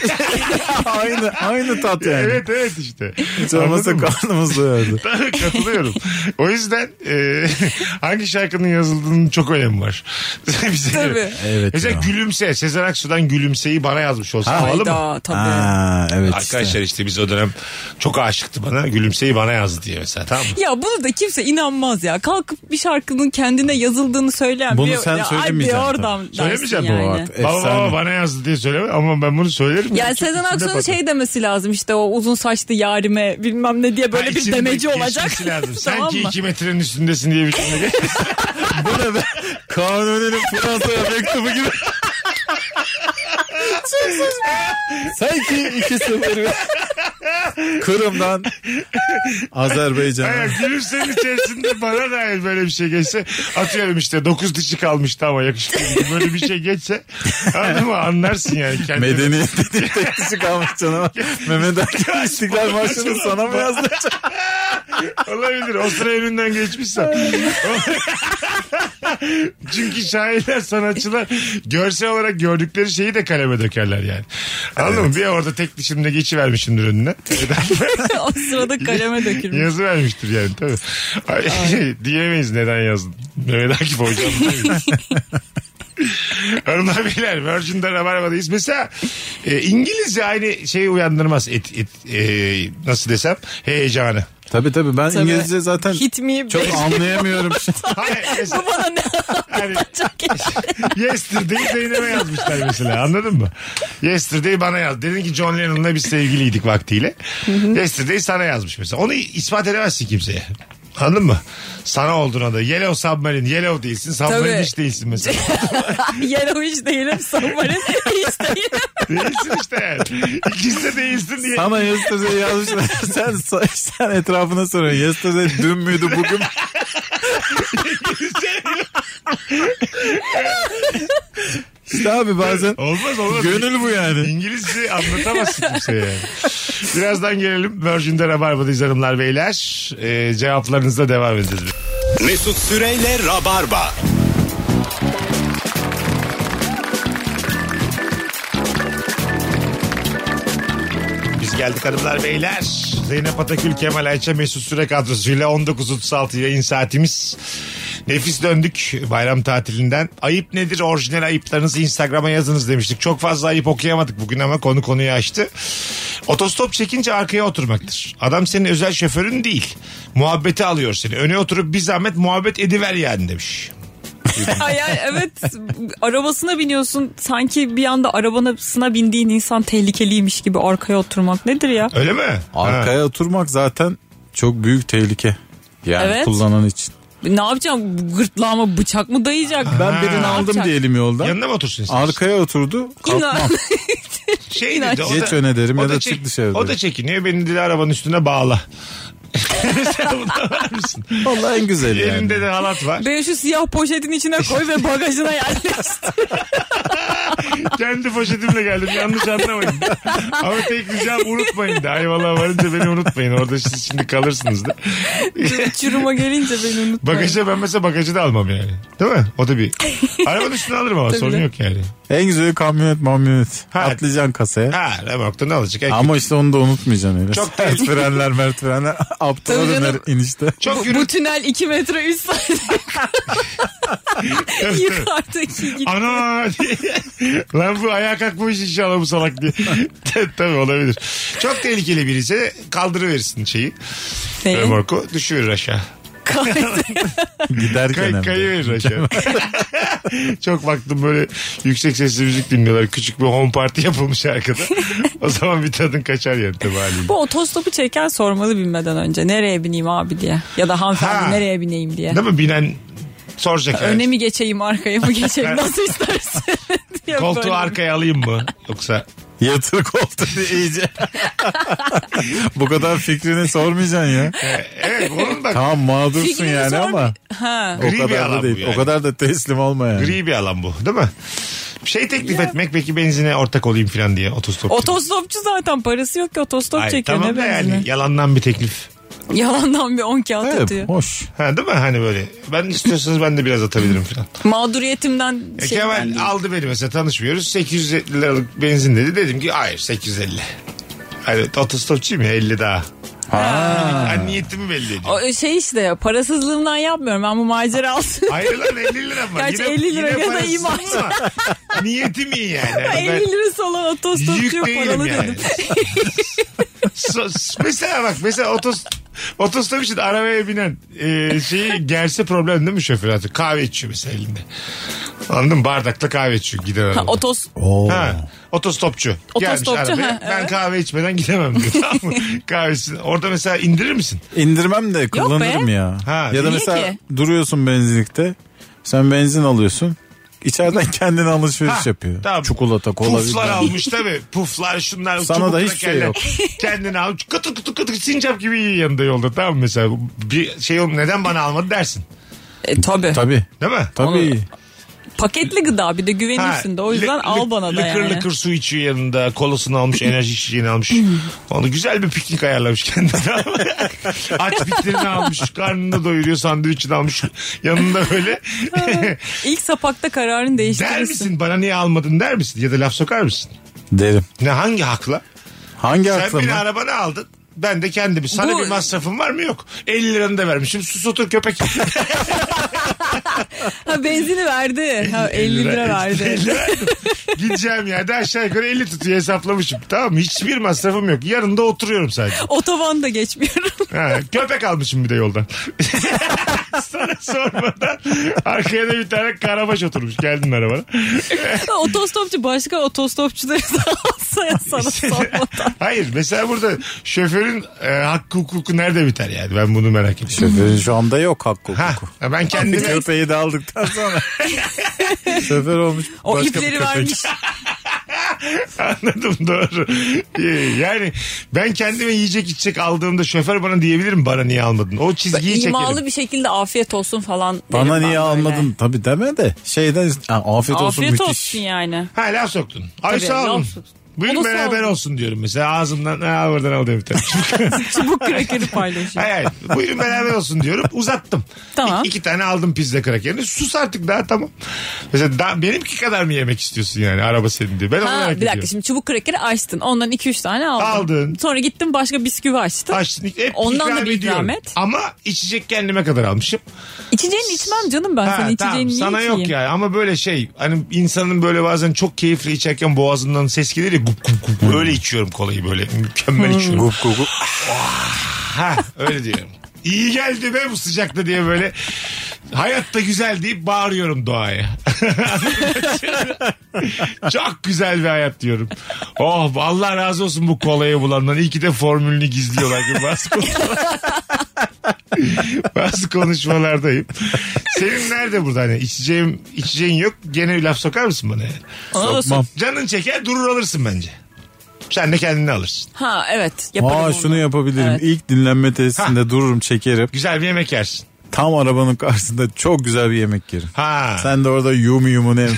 Speaker 5: aynı aynı tat yani.
Speaker 3: Evet evet işte.
Speaker 5: Hiç olmazsa
Speaker 3: Anladın mı?
Speaker 5: karnımız doyardı.
Speaker 3: Tabii, Katılıyorum. O yüzden e, hangi şarkının yazıldığının çok önemi var. Bize göre.
Speaker 4: Tabii.
Speaker 5: Evet
Speaker 3: Mesela
Speaker 5: ya.
Speaker 3: Gülümse. Sezen Aksu'dan Gülümse'yi bana yazmış olsa havalı mı?
Speaker 4: Hayda tabii.
Speaker 5: Ha, evet işte.
Speaker 3: Arkadaşlar işte biz o dönem çok aşıktı bana. Gülümseyi bana yazdı diye mesela tamam mı?
Speaker 4: Ya bunu da kimse inanmaz ya. Kalkıp bir şarkının kendine yazıldığını söyleyen
Speaker 5: Bunu
Speaker 4: biri-
Speaker 5: sen
Speaker 4: ya, ay
Speaker 5: söylemeyeceksin
Speaker 4: bir
Speaker 5: tabii.
Speaker 4: oradan dersin
Speaker 3: Söylemeyeceğim bu
Speaker 4: yani.
Speaker 5: artık.
Speaker 3: Baba
Speaker 5: Efsane.
Speaker 3: baba bana yazdı diye söyleme ama ben bunu söylerim.
Speaker 4: Yani
Speaker 3: Çok
Speaker 4: Sezen
Speaker 3: içimde
Speaker 4: Aksu'nun
Speaker 3: patladı.
Speaker 4: şey demesi lazım işte o uzun saçlı yarime bilmem ne diye böyle
Speaker 3: Ha,
Speaker 4: bir
Speaker 3: içimde
Speaker 4: demeci
Speaker 3: geçmesi
Speaker 4: olacak.
Speaker 3: Lazım. Sen
Speaker 4: Tamam
Speaker 3: ki
Speaker 4: mı?
Speaker 3: iki metrenin üstündesin diye bir cümle geç.
Speaker 5: Bu ne be? Kanuni'nin Fransa'ya mektubu gibi. Çok saçma. Sanki iki sıfır. Kırım'dan Azerbaycan'a.
Speaker 3: Hayır gülümsenin içerisinde bana dair böyle bir şey geçse atıyorum işte 9 dişi kalmıştı ama yakışıklı gibi böyle bir şey geçse anladın mı anlarsın yani kendini.
Speaker 5: Medeniyet dediği tek kişi kalmış canım. Mehmet Akif İstiklal Marşı'nı sana mı yazdı?
Speaker 3: Olabilir o sıra önünden geçmişsen. Çünkü şairler sanatçılar görsel olarak gördükleri şeyi de kaleme dökerler yani. Anladın mı? Bir orada tek dişimle geçivermişimdir önüne.
Speaker 4: o sırada kaleme dökülmüş.
Speaker 3: Yazı vermiştir yani tabii. Ay, diyemeyiz neden yazdın. Mehmet Akif hocam. diyemeyiz. Hanımlar beyler Virgin'de Rabarba'dayız. Mesela e, İngilizce aynı şeyi uyandırmaz. Et, et- e, nasıl desem heyecanı.
Speaker 5: Tabii tabii ben
Speaker 4: Tabii.
Speaker 5: İngilizce zaten
Speaker 4: Hit me
Speaker 5: çok
Speaker 4: baby.
Speaker 5: anlayamıyorum.
Speaker 3: Hayır, mesela,
Speaker 4: Bu bana ne
Speaker 3: hani,
Speaker 4: anlatacak?
Speaker 3: yesterday Zeynep'e yazmışlar mesela anladın mı? Yesterday bana yaz. Dedin ki John Lennon'la biz sevgiliydik vaktiyle. yesterday sana yazmış mesela. Onu ispat edemezsin kimseye. Anladın mı? Sana olduğuna da. Yellow Submarine, Yellow değilsin, Submarine
Speaker 4: Tabii.
Speaker 3: hiç değilsin mesela.
Speaker 4: Yellow hiç değilim. Submarine hiç değilim.
Speaker 3: Değilsin işte yani. İkisi de değilsin diye.
Speaker 5: Sana yesterday yazmışlar. sen, sen etrafına soruyorsun. Yesterday dün müydü bugün? mü? İşte abi bazen
Speaker 3: Olmaz olmaz.
Speaker 5: gönül bu yani.
Speaker 3: İngilizce anlatamazsın kimseye yani. Birazdan gelelim. Virgin'de Rabarba'dayız hanımlar beyler. Ee, cevaplarınızla devam edelim.
Speaker 2: Mesut Süreyle Rabarba.
Speaker 3: Biz geldik hanımlar beyler. Zeynep Atakül, Kemal Ayça, Mesut Süre kadrosuyla 19.36 yayın saatimiz. Nefis döndük bayram tatilinden. Ayıp nedir orijinal ayıplarınızı Instagram'a yazınız demiştik. Çok fazla ayıp okuyamadık bugün ama konu konuyu açtı. Otostop çekince arkaya oturmaktır. Adam senin özel şoförün değil. Muhabbeti alıyor seni. Öne oturup bir zahmet muhabbet ediver yani demiş.
Speaker 4: Hayal evet. Arabasına biniyorsun. Sanki bir anda arabasına bindiğin insan tehlikeliymiş gibi arkaya oturmak. Nedir ya?
Speaker 3: Öyle mi? Ha.
Speaker 5: Arkaya oturmak zaten çok büyük tehlike. Yani
Speaker 4: Evet.
Speaker 5: kullanan için.
Speaker 4: Ne yapacağım? Gırtlağıma bıçak mı dayayacak?
Speaker 5: Ben birini
Speaker 4: Ne
Speaker 5: aldım
Speaker 4: yapacak?
Speaker 5: diyelim yoldan.
Speaker 3: Yanına mı otursun istersin?
Speaker 5: Arkaya oturdu. Kalkmam.
Speaker 3: Şey dedi, o
Speaker 5: Geç
Speaker 3: da-
Speaker 5: öne derim
Speaker 3: o
Speaker 5: ya da
Speaker 3: çek-
Speaker 5: çık dışarı
Speaker 3: O
Speaker 5: derim.
Speaker 3: da çekiniyor. Beni dedi arabanın üstüne bağla. Sen buna var mısın?
Speaker 5: Vallahi en güzeli yani.
Speaker 3: şey, Elinde de halat var.
Speaker 4: Ben şu siyah poşetin içine koy ve bagajına yerleştir.
Speaker 3: Kendi poşetimle geldim. Yanlış anlamayın. Ama tek ricam unutmayın da. Ayvalık'a varınca beni unutmayın. Orada siz şimdi kalırsınız da.
Speaker 4: Çuruma gelince beni unutma.
Speaker 3: Bagajı ben mesela bagajı da almam yani. Değil mi? O da bir. Arabanın üstüne alırım ama sorun
Speaker 4: canım.
Speaker 3: yok yani.
Speaker 5: En güzeli kamyonet mamyonet.
Speaker 3: Ha.
Speaker 5: Atlayacaksın kasaya.
Speaker 3: Ha, remorkta ne alacak? En
Speaker 5: Ama işte onu da unutmayacaksın öyle.
Speaker 3: Çok
Speaker 5: Çok
Speaker 3: tehlikeli.
Speaker 5: frenler mert frenler. Aptal
Speaker 4: Tabii
Speaker 5: döner
Speaker 4: canım.
Speaker 5: inişte.
Speaker 3: Çok
Speaker 4: Bu, bu
Speaker 3: yürü.
Speaker 4: tünel 2 metre 3 saniye yukarıdaki gitti.
Speaker 3: Ana diye. Lan bu ayağa kalkmış inşallah bu salak diye. Tabii olabilir. Çok tehlikeli birisi kaldırıverirsin şeyi. Remorku düşüverir aşağı.
Speaker 5: Giderken
Speaker 3: Kay,
Speaker 5: hem de.
Speaker 3: kayıverir aşağı. Çok baktım böyle yüksek sesli müzik dinliyorlar. Küçük bir home party yapılmış arkada. o zaman bir tadın kaçar yani tabii haliyle.
Speaker 4: Bu otostopu çeken sormalı binmeden önce. Nereye bineyim abi diye. Ya da hanımefendi
Speaker 3: Ha.
Speaker 4: nereye bineyim diye.
Speaker 3: Değil mi? Binen soracak. yani.
Speaker 4: Öne mi geçeyim arkaya mı geçeyim nasıl istersen diye
Speaker 3: Koltuğu
Speaker 4: böyle.
Speaker 3: arkaya alayım mı? Yoksa
Speaker 5: Yatır koltuğu diye iyice. Bu kadar fikrini sormayacaksın ya.
Speaker 3: evet onun da
Speaker 5: Tamam mağdursun
Speaker 4: Fikrini
Speaker 5: yani
Speaker 4: sorma-
Speaker 5: ama
Speaker 4: Ha.
Speaker 5: o
Speaker 3: Gri bir
Speaker 5: kadar
Speaker 3: alan
Speaker 5: da
Speaker 3: bu
Speaker 5: değil.
Speaker 3: yani.
Speaker 5: O kadar da teslim olma yani.
Speaker 3: gri bir alan bu değil mi? Bir şey teklif etmek peki benzine ortak olayım falan diye otostop.
Speaker 4: Otostopçu zaten parası yok ki otostop
Speaker 3: Ay,
Speaker 4: çekiyor
Speaker 3: tamam
Speaker 4: ne
Speaker 3: da
Speaker 4: benzine.
Speaker 3: yani yalandan bir teklif.
Speaker 4: Yalandan bir 10 kağıt atıyor.
Speaker 5: Evet, hoş.
Speaker 3: Ha değil mi hani böyle ben istiyorsanız ben de biraz atabilirim falan.
Speaker 4: Mağduriyetimden
Speaker 3: E,
Speaker 4: şey
Speaker 3: Kemal
Speaker 4: ben-
Speaker 3: aldı beni mesela tanışmıyoruz 850 liralık benzin dedi dedim ki hayır 850. Hani otostopçuyum ya 50 daha. Ha. niyetimi belli ediyor.
Speaker 4: O şey işte parasızlığımdan yapmıyorum ben bu macera alsın.
Speaker 3: Hayır lan 50 lira mı?
Speaker 4: Gerçi 50 lira gene de
Speaker 3: parasız
Speaker 4: iyi maaş.
Speaker 3: ama Niyetim iyi yani. Hani ben
Speaker 4: 50 lirası olan otostopçuya
Speaker 3: Yük değilim
Speaker 4: paralı
Speaker 3: yani.
Speaker 4: dedim.
Speaker 3: So- mesela bak mesela otos, otostop için arabaya binen e, şeyi gerse problem değil mi şoför artık? Kahve içiyor mesela elinde. Anladın mı? Bardakla kahve içiyor giden
Speaker 4: Ha,
Speaker 3: araba.
Speaker 4: otos
Speaker 5: Oo.
Speaker 3: Ha, otostopçu.
Speaker 4: Otostopçu,
Speaker 3: Gelmiş arabaya.
Speaker 4: ha,
Speaker 3: Ben
Speaker 4: evet.
Speaker 3: kahve içmeden gidemem diyor. tamam mı? Kahvesini. Orada mesela indirir misin?
Speaker 5: İndirmem de kullanırım ya.
Speaker 3: Ha,
Speaker 5: ya da
Speaker 3: niye
Speaker 5: mesela
Speaker 4: ki?
Speaker 5: duruyorsun benzinlikte. Sen benzin alıyorsun. İçeriden kendine alışveriş yapıyor.
Speaker 3: Tamam.
Speaker 5: Çikolata, kola.
Speaker 3: Puflar
Speaker 5: bilmem.
Speaker 3: almış tabii. Puflar şunlar.
Speaker 5: Sana
Speaker 3: çubuk
Speaker 5: da hiçbir şey
Speaker 3: krakerler.
Speaker 5: yok.
Speaker 3: Kendini al. Kıtır kıtır kıtır sincap gibi yiyor yanında yolda tamam mı mesela. Bir şey oğlum neden bana almadı dersin.
Speaker 4: E, tabii.
Speaker 5: Tabii.
Speaker 3: Değil mi?
Speaker 5: Tabii.
Speaker 4: Paketli gıda bir de güvenirsin de o yüzden
Speaker 3: lı-
Speaker 4: al
Speaker 3: lı-
Speaker 4: bana da
Speaker 3: lıkır
Speaker 4: yani.
Speaker 3: lıkır su içiyor yanında. Kolasını almış, enerji içeceğini almış. Onu güzel bir piknik ayarlamış kendine. Aç bitlerini almış, karnını doyuruyor, sandviçini almış. Yanında böyle.
Speaker 4: İlk sapakta kararını
Speaker 3: der
Speaker 4: değiştirirsin.
Speaker 3: misin bana niye almadın der misin? Ya da laf sokar mısın?
Speaker 5: Derim.
Speaker 3: Ne hangi hakla?
Speaker 5: Hangi
Speaker 3: Sen beni
Speaker 5: aklımda?
Speaker 3: arabana aldın. Ben de kendimi. Sana
Speaker 4: Bu-
Speaker 3: bir masrafın var mı? Yok. 50 liranı da vermişim. Sus otur köpek.
Speaker 4: Ha benzini verdi. Ha 50 lira verdi.
Speaker 3: 50 lira. Gideceğim yerde aşağı yukarı 50 tutuyor hesaplamışım. Tamam mı? Hiçbir masrafım yok. Yarın da oturuyorum sadece.
Speaker 4: Otoban da geçmiyorum.
Speaker 3: Ha, köpek almışım bir de yoldan. Sana sormadan arkaya da bir tane karabaş oturmuş. Geldin arabana.
Speaker 4: Otostopçu başka otostopçuları da alsa ya sana sormadan.
Speaker 3: Hayır mesela burada şoförün e, hakkı hukuku nerede biter yani? Ben bunu merak ediyorum.
Speaker 5: Şoförün şu anda yok hakkı
Speaker 3: Ha,
Speaker 5: hukuku.
Speaker 3: ben
Speaker 5: Bir
Speaker 3: kendime
Speaker 5: köpeği de aldıktan sonra şoför olmuş.
Speaker 4: O
Speaker 5: başka bir
Speaker 4: ipleri
Speaker 5: köpek.
Speaker 4: vermiş.
Speaker 3: Anladım doğru. Ee, Yani ben kendime yiyecek içecek aldığımda şoför bana diyebilir mi bana niye almadın? O çizgiyi
Speaker 4: İmalı
Speaker 3: çekelim.
Speaker 4: bir şekilde afiyet olsun falan. derim
Speaker 5: Bana
Speaker 4: ben
Speaker 5: niye
Speaker 4: böyle.
Speaker 5: almadın? Tabii deme de. Şeyden ha, afiyet olsun
Speaker 4: Afiyet
Speaker 5: müthiş.
Speaker 4: olsun yani.
Speaker 3: Ha laf soktun. Ay
Speaker 4: Tabii,
Speaker 3: sağ
Speaker 4: laf
Speaker 3: olun.
Speaker 4: soktun.
Speaker 3: Buyurun
Speaker 4: O da sağ
Speaker 3: beraber
Speaker 4: olun.
Speaker 3: olsun diyorum mesela ağzımdan ha buradan al diyorum bir tane.
Speaker 4: Çubuk krakeri paylaşıyor.
Speaker 3: hayır, hayır. Buyurun beraber olsun diyorum uzattım.
Speaker 4: Tamam.
Speaker 3: İ- iki tane aldım pizza krakerini sus artık daha tamam. Mesela daha, benimki kadar mı yemek istiyorsun yani araba senin diye. Ben onu merak
Speaker 4: Ha, bir dakika
Speaker 3: ediyorum.
Speaker 4: şimdi çubuk krakeri açtın. Ondan 2-3 tane aldın.
Speaker 3: Aldın.
Speaker 4: Sonra gittin başka bisküvi açtın.
Speaker 3: Açtın, hep
Speaker 4: Ondan da
Speaker 3: ikram
Speaker 4: bir
Speaker 3: ediyorum.
Speaker 4: ikram et.
Speaker 3: Ama içecek kendime kadar almışım.
Speaker 4: İçeceğini içmem canım ben.
Speaker 3: Ha,
Speaker 4: Senin
Speaker 3: tamam.
Speaker 4: içeceğini niye
Speaker 3: Sana
Speaker 4: içeyim?
Speaker 3: yok ya ama böyle şey hani insanın böyle bazen çok keyifli içerken boğazından ses gelir ya gup gup gup. Öyle içiyorum kolayı böyle mükemmel
Speaker 4: Hmm.
Speaker 3: içiyorum.
Speaker 5: Gup gup gup.
Speaker 3: ha öyle diyorum. İyi geldi be bu sıcakta diye böyle hayatta güzel deyip bağırıyorum doğaya. çok güzel bir hayat diyorum. Oh Allah razı olsun bu kolayı bulandan. İyi ki de formülünü gizliyorlar gibi bazı konuşmalar- bazı konuşmalardayım. Senin nerede burada hani içeceğim içeceğin yok gene laf sokar mısın bana? yani?
Speaker 4: Ona da
Speaker 5: Sokmam.
Speaker 3: Canın çeker durur alırsın bence. Sen de kendini alırsın.
Speaker 4: Ha evet yaparım
Speaker 5: Aa
Speaker 4: onu.
Speaker 5: şunu yapabilirim.
Speaker 4: Evet.
Speaker 5: İlk dinlenme tesisinde dururum çekerim.
Speaker 3: Güzel bir yemek yersin.
Speaker 5: Tam arabanın karşısında çok güzel bir yemek yerim.
Speaker 3: Ha.
Speaker 5: Sen de orada yum yumun ev.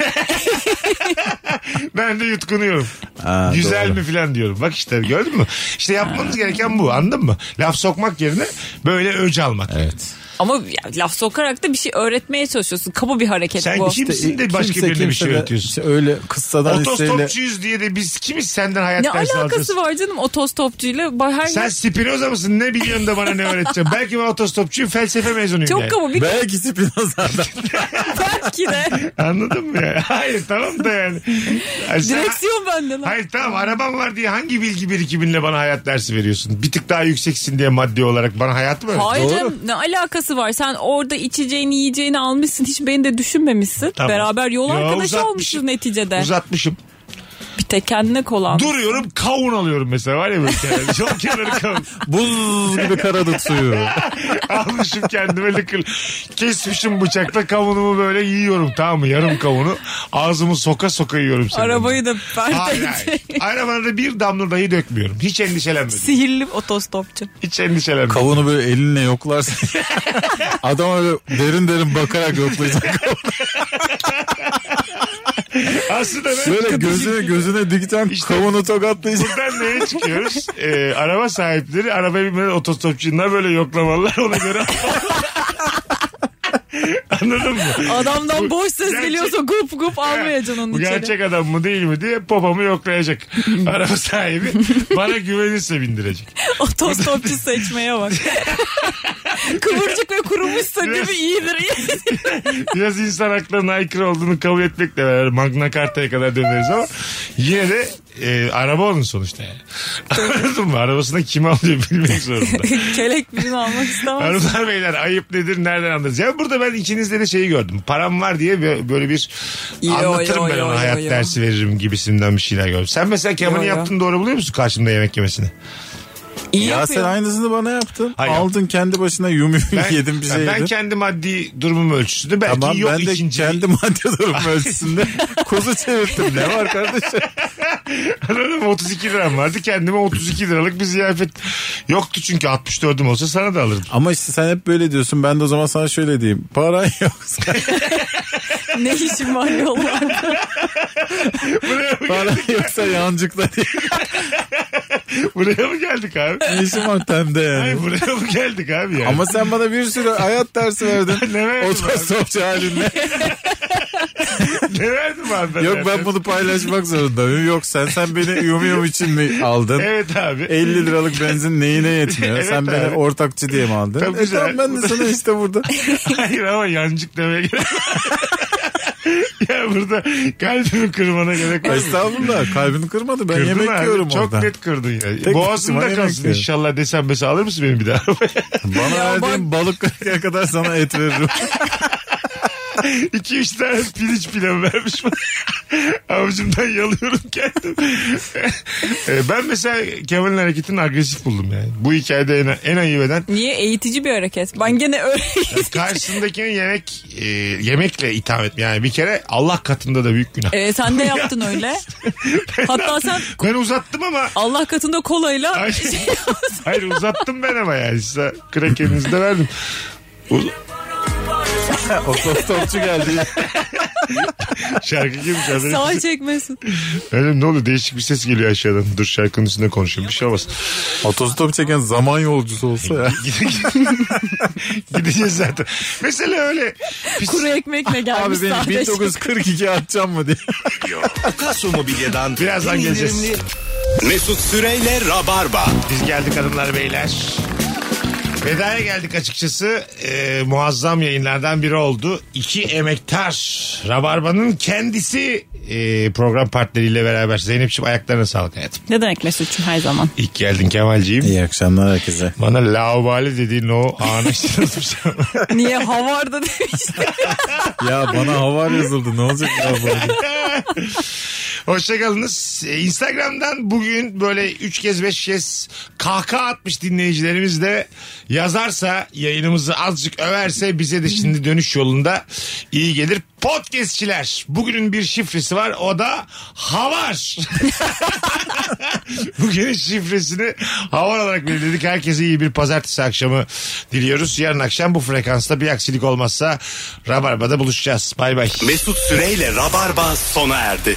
Speaker 3: Ben de yutkunuyorum.
Speaker 5: Ha,
Speaker 3: Güzel
Speaker 5: doğru.
Speaker 3: mi filan diyorum. Bak işte gördün mü? İşte yapmanız gereken bu anladın mı? Laf sokmak yerine böyle öc almak.
Speaker 5: Evet.
Speaker 4: Ama ya, laf sokarak da bir şey öğretmeye çalışıyorsun. Kaba bir hareket
Speaker 3: Sen şey
Speaker 4: bu.
Speaker 3: kimsin de başka
Speaker 5: e, Kimse
Speaker 3: birine bir
Speaker 5: kimse
Speaker 3: şey
Speaker 5: de
Speaker 3: öğretiyorsun.
Speaker 5: işte öyle kıssadan hisseyle.
Speaker 3: Otostopçuyuz diye de biz kimiz senden hayat
Speaker 4: Ne
Speaker 3: dersi
Speaker 4: alakası
Speaker 3: alacağız?
Speaker 4: var canım otostopçuyla? Ba- Her
Speaker 3: Sen spinoza mısın? Ne biliyorsun da bana ne öğreteceksin? Belki ben otostopçuyum felsefe mezunuyum.
Speaker 4: çok
Speaker 3: yani.
Speaker 4: kaba bir
Speaker 5: Belki spinozlardan.
Speaker 4: belki de.
Speaker 3: Anladın mı ya? Hayır tamam da yani. Ay, sen-
Speaker 4: Direksiyon bende lan.
Speaker 3: Hayır tamam arabam var diye hangi bilgi birikiminle bana hayat dersi veriyorsun? Bir tık daha yükseksin diye maddi olarak bana hayat mı öğretiyorsun?
Speaker 4: Hayır canım, ne alakası var? Sen orada içeceğini yiyeceğini almışsın. Hiç beni de düşünmemişsin.
Speaker 3: Tamam.
Speaker 4: Beraber yol
Speaker 3: Ya,
Speaker 4: arkadaşı
Speaker 3: uzatmışım.
Speaker 4: olmuşsun neticede.
Speaker 3: Uzatmışım.
Speaker 4: Bir tek kendine kolan.
Speaker 3: Duruyorum kavun alıyorum mesela var ya böyle kenarı. Çok kenarı kavun.
Speaker 5: Buz gibi karadut suyu.
Speaker 3: Almışım kendime lıkır. Kesmişim bıçakla kavunumu böyle yiyorum tamam mı? Yarım kavunu. Ağzımı soka soka yiyorum. senin
Speaker 4: Arabayı da
Speaker 3: önüne.
Speaker 4: perde
Speaker 3: Hayır hayır. Arabana da bir damla dahi dökmüyorum. Hiç endişelenme.
Speaker 4: Sihirli otostopçu.
Speaker 3: Hiç endişelenme.
Speaker 5: Kavunu böyle elinle yoklarsın. Adam öyle derin derin bakarak yoklayacak.
Speaker 3: Aslında ben
Speaker 5: Böyle gözüne gözüne dikten
Speaker 3: İşte-
Speaker 5: kavunu tokatlayacak.
Speaker 3: Buradan neye çıkıyoruz? Ee, araba sahipleri arabaya binmeden otostopçuyla böyle yoklamalılar ona göre. Anladın mı?
Speaker 4: Adamdan boş ses
Speaker 3: gerçek-
Speaker 4: geliyorsa gup gup almayacaksın onun
Speaker 3: Bu
Speaker 4: içeri.
Speaker 3: gerçek adam mı değil mi diye popomu yoklayacak. araba sahibi bana güvenirse bindirecek.
Speaker 4: Otostopçu seçmeye bak. Kıvırcık ve kurumuşsa
Speaker 3: Biraz-
Speaker 4: gibi iyidir.
Speaker 3: Biraz insan haklarına aykırı olduğunu kabul etmekle beraber Magna Carta'ya kadar döneriz ama yine de e, araba onun sonuçta yani. Anladın mı? Arabasını kim alıyor bilmek zorunda.
Speaker 4: Kelek birini almak istemez.
Speaker 3: Hanımlar beyler ayıp nedir nereden anlarız? Ya burada ben ikinizde de şeyi gördüm. Param var diye bö- böyle bir
Speaker 4: Yo,
Speaker 3: anlatırım
Speaker 4: yo,
Speaker 3: ben
Speaker 4: yo,
Speaker 3: ona
Speaker 4: yo,
Speaker 3: hayat
Speaker 4: yo.
Speaker 3: dersi veririm gibisinden bir şeyler gördüm. Sen mesela Kemal'in
Speaker 4: Yo, yo.
Speaker 3: yaptığını doğru buluyor musun karşımda yemek yemesini?
Speaker 4: İyi
Speaker 5: Ya
Speaker 4: yapıyor.
Speaker 5: sen aynısını bana yaptın.
Speaker 3: Hayır.
Speaker 5: Aldın kendi başına yum yum
Speaker 3: Ben,
Speaker 5: yedin bize
Speaker 3: ben
Speaker 5: yedin.
Speaker 3: kendi maddi durumum ölçüsünde belki
Speaker 5: şey Tamam
Speaker 3: yok
Speaker 5: ben de
Speaker 3: ikinci.
Speaker 5: kendi maddi durum ölçüsünde kuzu çevirttim. Ne var kardeşim?
Speaker 3: Anladın mı? 32 liram vardı kendime 32 liralık bir ziyafet yoktu çünkü 64'üm olsa sana da alırdım.
Speaker 5: Ama işte sen hep böyle diyorsun. Ben de o zaman sana şöyle diyeyim. Paran yok.
Speaker 4: ne işim var yollarda?
Speaker 3: Buraya mı,
Speaker 5: Paran yoksa yancıkla diye.
Speaker 3: buraya mı geldik abi?
Speaker 5: Ne işin var temde yani.
Speaker 3: Hayır buraya mı geldik abi ya?
Speaker 5: Ama sen bana bir sürü hayat dersi verdin.
Speaker 3: Ne verdim
Speaker 5: Otostopçu halinde.
Speaker 3: ne verdim abi ben?
Speaker 5: Yok ben
Speaker 3: zaten?
Speaker 5: bunu paylaşmak zorundayım. Yok sen sen beni yum yum için mi aldın?
Speaker 3: Evet abi.
Speaker 5: 50 liralık benzin neyine yetmiyor?
Speaker 3: Evet
Speaker 5: Sen beni
Speaker 3: abi.
Speaker 5: ortakçı diye mi aldın?
Speaker 3: Tabii
Speaker 5: E
Speaker 3: güzel.
Speaker 5: tamam ben de sana işte burada.
Speaker 3: Hayır ama yancık demeye gerek Ya burada kalbimi kırmana gerek var. mı?
Speaker 5: Estağfurullah kalbini kırmadı. Ben
Speaker 3: Kırdın
Speaker 5: yemek
Speaker 3: abi,
Speaker 5: yiyorum
Speaker 3: Çok
Speaker 5: oradan.
Speaker 3: net kırdın ya.
Speaker 5: Tek başıma
Speaker 3: Boğazımda
Speaker 5: yemek
Speaker 3: kalsın
Speaker 5: yiyorum.
Speaker 3: inşallah desem mesela alır mısın beni bir daha?
Speaker 5: Bana verdiğin balık kırkaya kadar sana et veririm.
Speaker 3: 2-3 tane pirinç pilav vermiş bana. Avcımdan yalıyorum kendim. E, ben mesela Kemal'in hareketini agresif buldum yani. Bu hikayede en, en ayıp eden
Speaker 4: Niye eğitici bir hareket? Ben gene öyle
Speaker 3: karşısındakini yemek e, yemekle itham etme. Yani bir kere Allah katında da büyük günah.
Speaker 4: Ee, sen de yaptın öyle. Hatta sen
Speaker 3: Ben uzattım ama
Speaker 4: Allah katında kolayla şey
Speaker 3: Ay. Hayır uzattım ben ama yani size krakeninizi de verdim. Uz-
Speaker 5: Otostopçu geldi.
Speaker 3: şarkı gibi şarkı.
Speaker 4: sağ çekmesin.
Speaker 3: Öyle ne oluyor değişik bir ses geliyor aşağıdan. Dur şarkının üstünde konuşayım bir şey olmaz.
Speaker 5: Otostop çeken zaman yolcusu olsa ya.
Speaker 3: Gideceğiz zaten. Mesela öyle pis-
Speaker 4: Kuru ekmekle gelmiş
Speaker 5: Abi beni
Speaker 4: sahte.
Speaker 5: 1942 atacağım mı diye.
Speaker 2: Kaso Mobilya'dan
Speaker 3: Birazdan
Speaker 2: en
Speaker 3: geleceğiz.
Speaker 2: indirimli Mesut Süreyle Rabarba.
Speaker 3: Biz geldik hanımlar beyler. Veda'ya geldik açıkçası. Ee, muazzam yayınlardan biri oldu. İki emektar. Rabarba'nın kendisi e, program partneriyle beraber. Zeynep'ciğim ayaklarına sağlık hayatım.
Speaker 4: Ne demek Mesut'cum her zaman?
Speaker 3: İlk geldin Kemal'ciğim.
Speaker 5: İyi akşamlar herkese.
Speaker 3: Bana laubali dediğin o anı işte yazmış.
Speaker 4: Niye havarda demişti.
Speaker 5: Ya bana havar yazıldı ne olacak ya bu?
Speaker 3: Hoşçakalınız. Ee, Instagram'dan bugün böyle 3 kez 5 kez kahkaha atmış dinleyicilerimiz de yazarsa yayınımızı azıcık överse bize de şimdi dönüş yolunda iyi gelir. Podcastçiler bugünün bir şifresi var o da havar. Bugünün şifresini havar olarak belirledik. Herkese iyi bir pazartesi akşamı diliyoruz. Yarın akşam bu frekansta bir aksilik olmazsa Rabarba'da buluşacağız. Bay bay.
Speaker 2: Mesut Süreyle Rabarba sona erdi.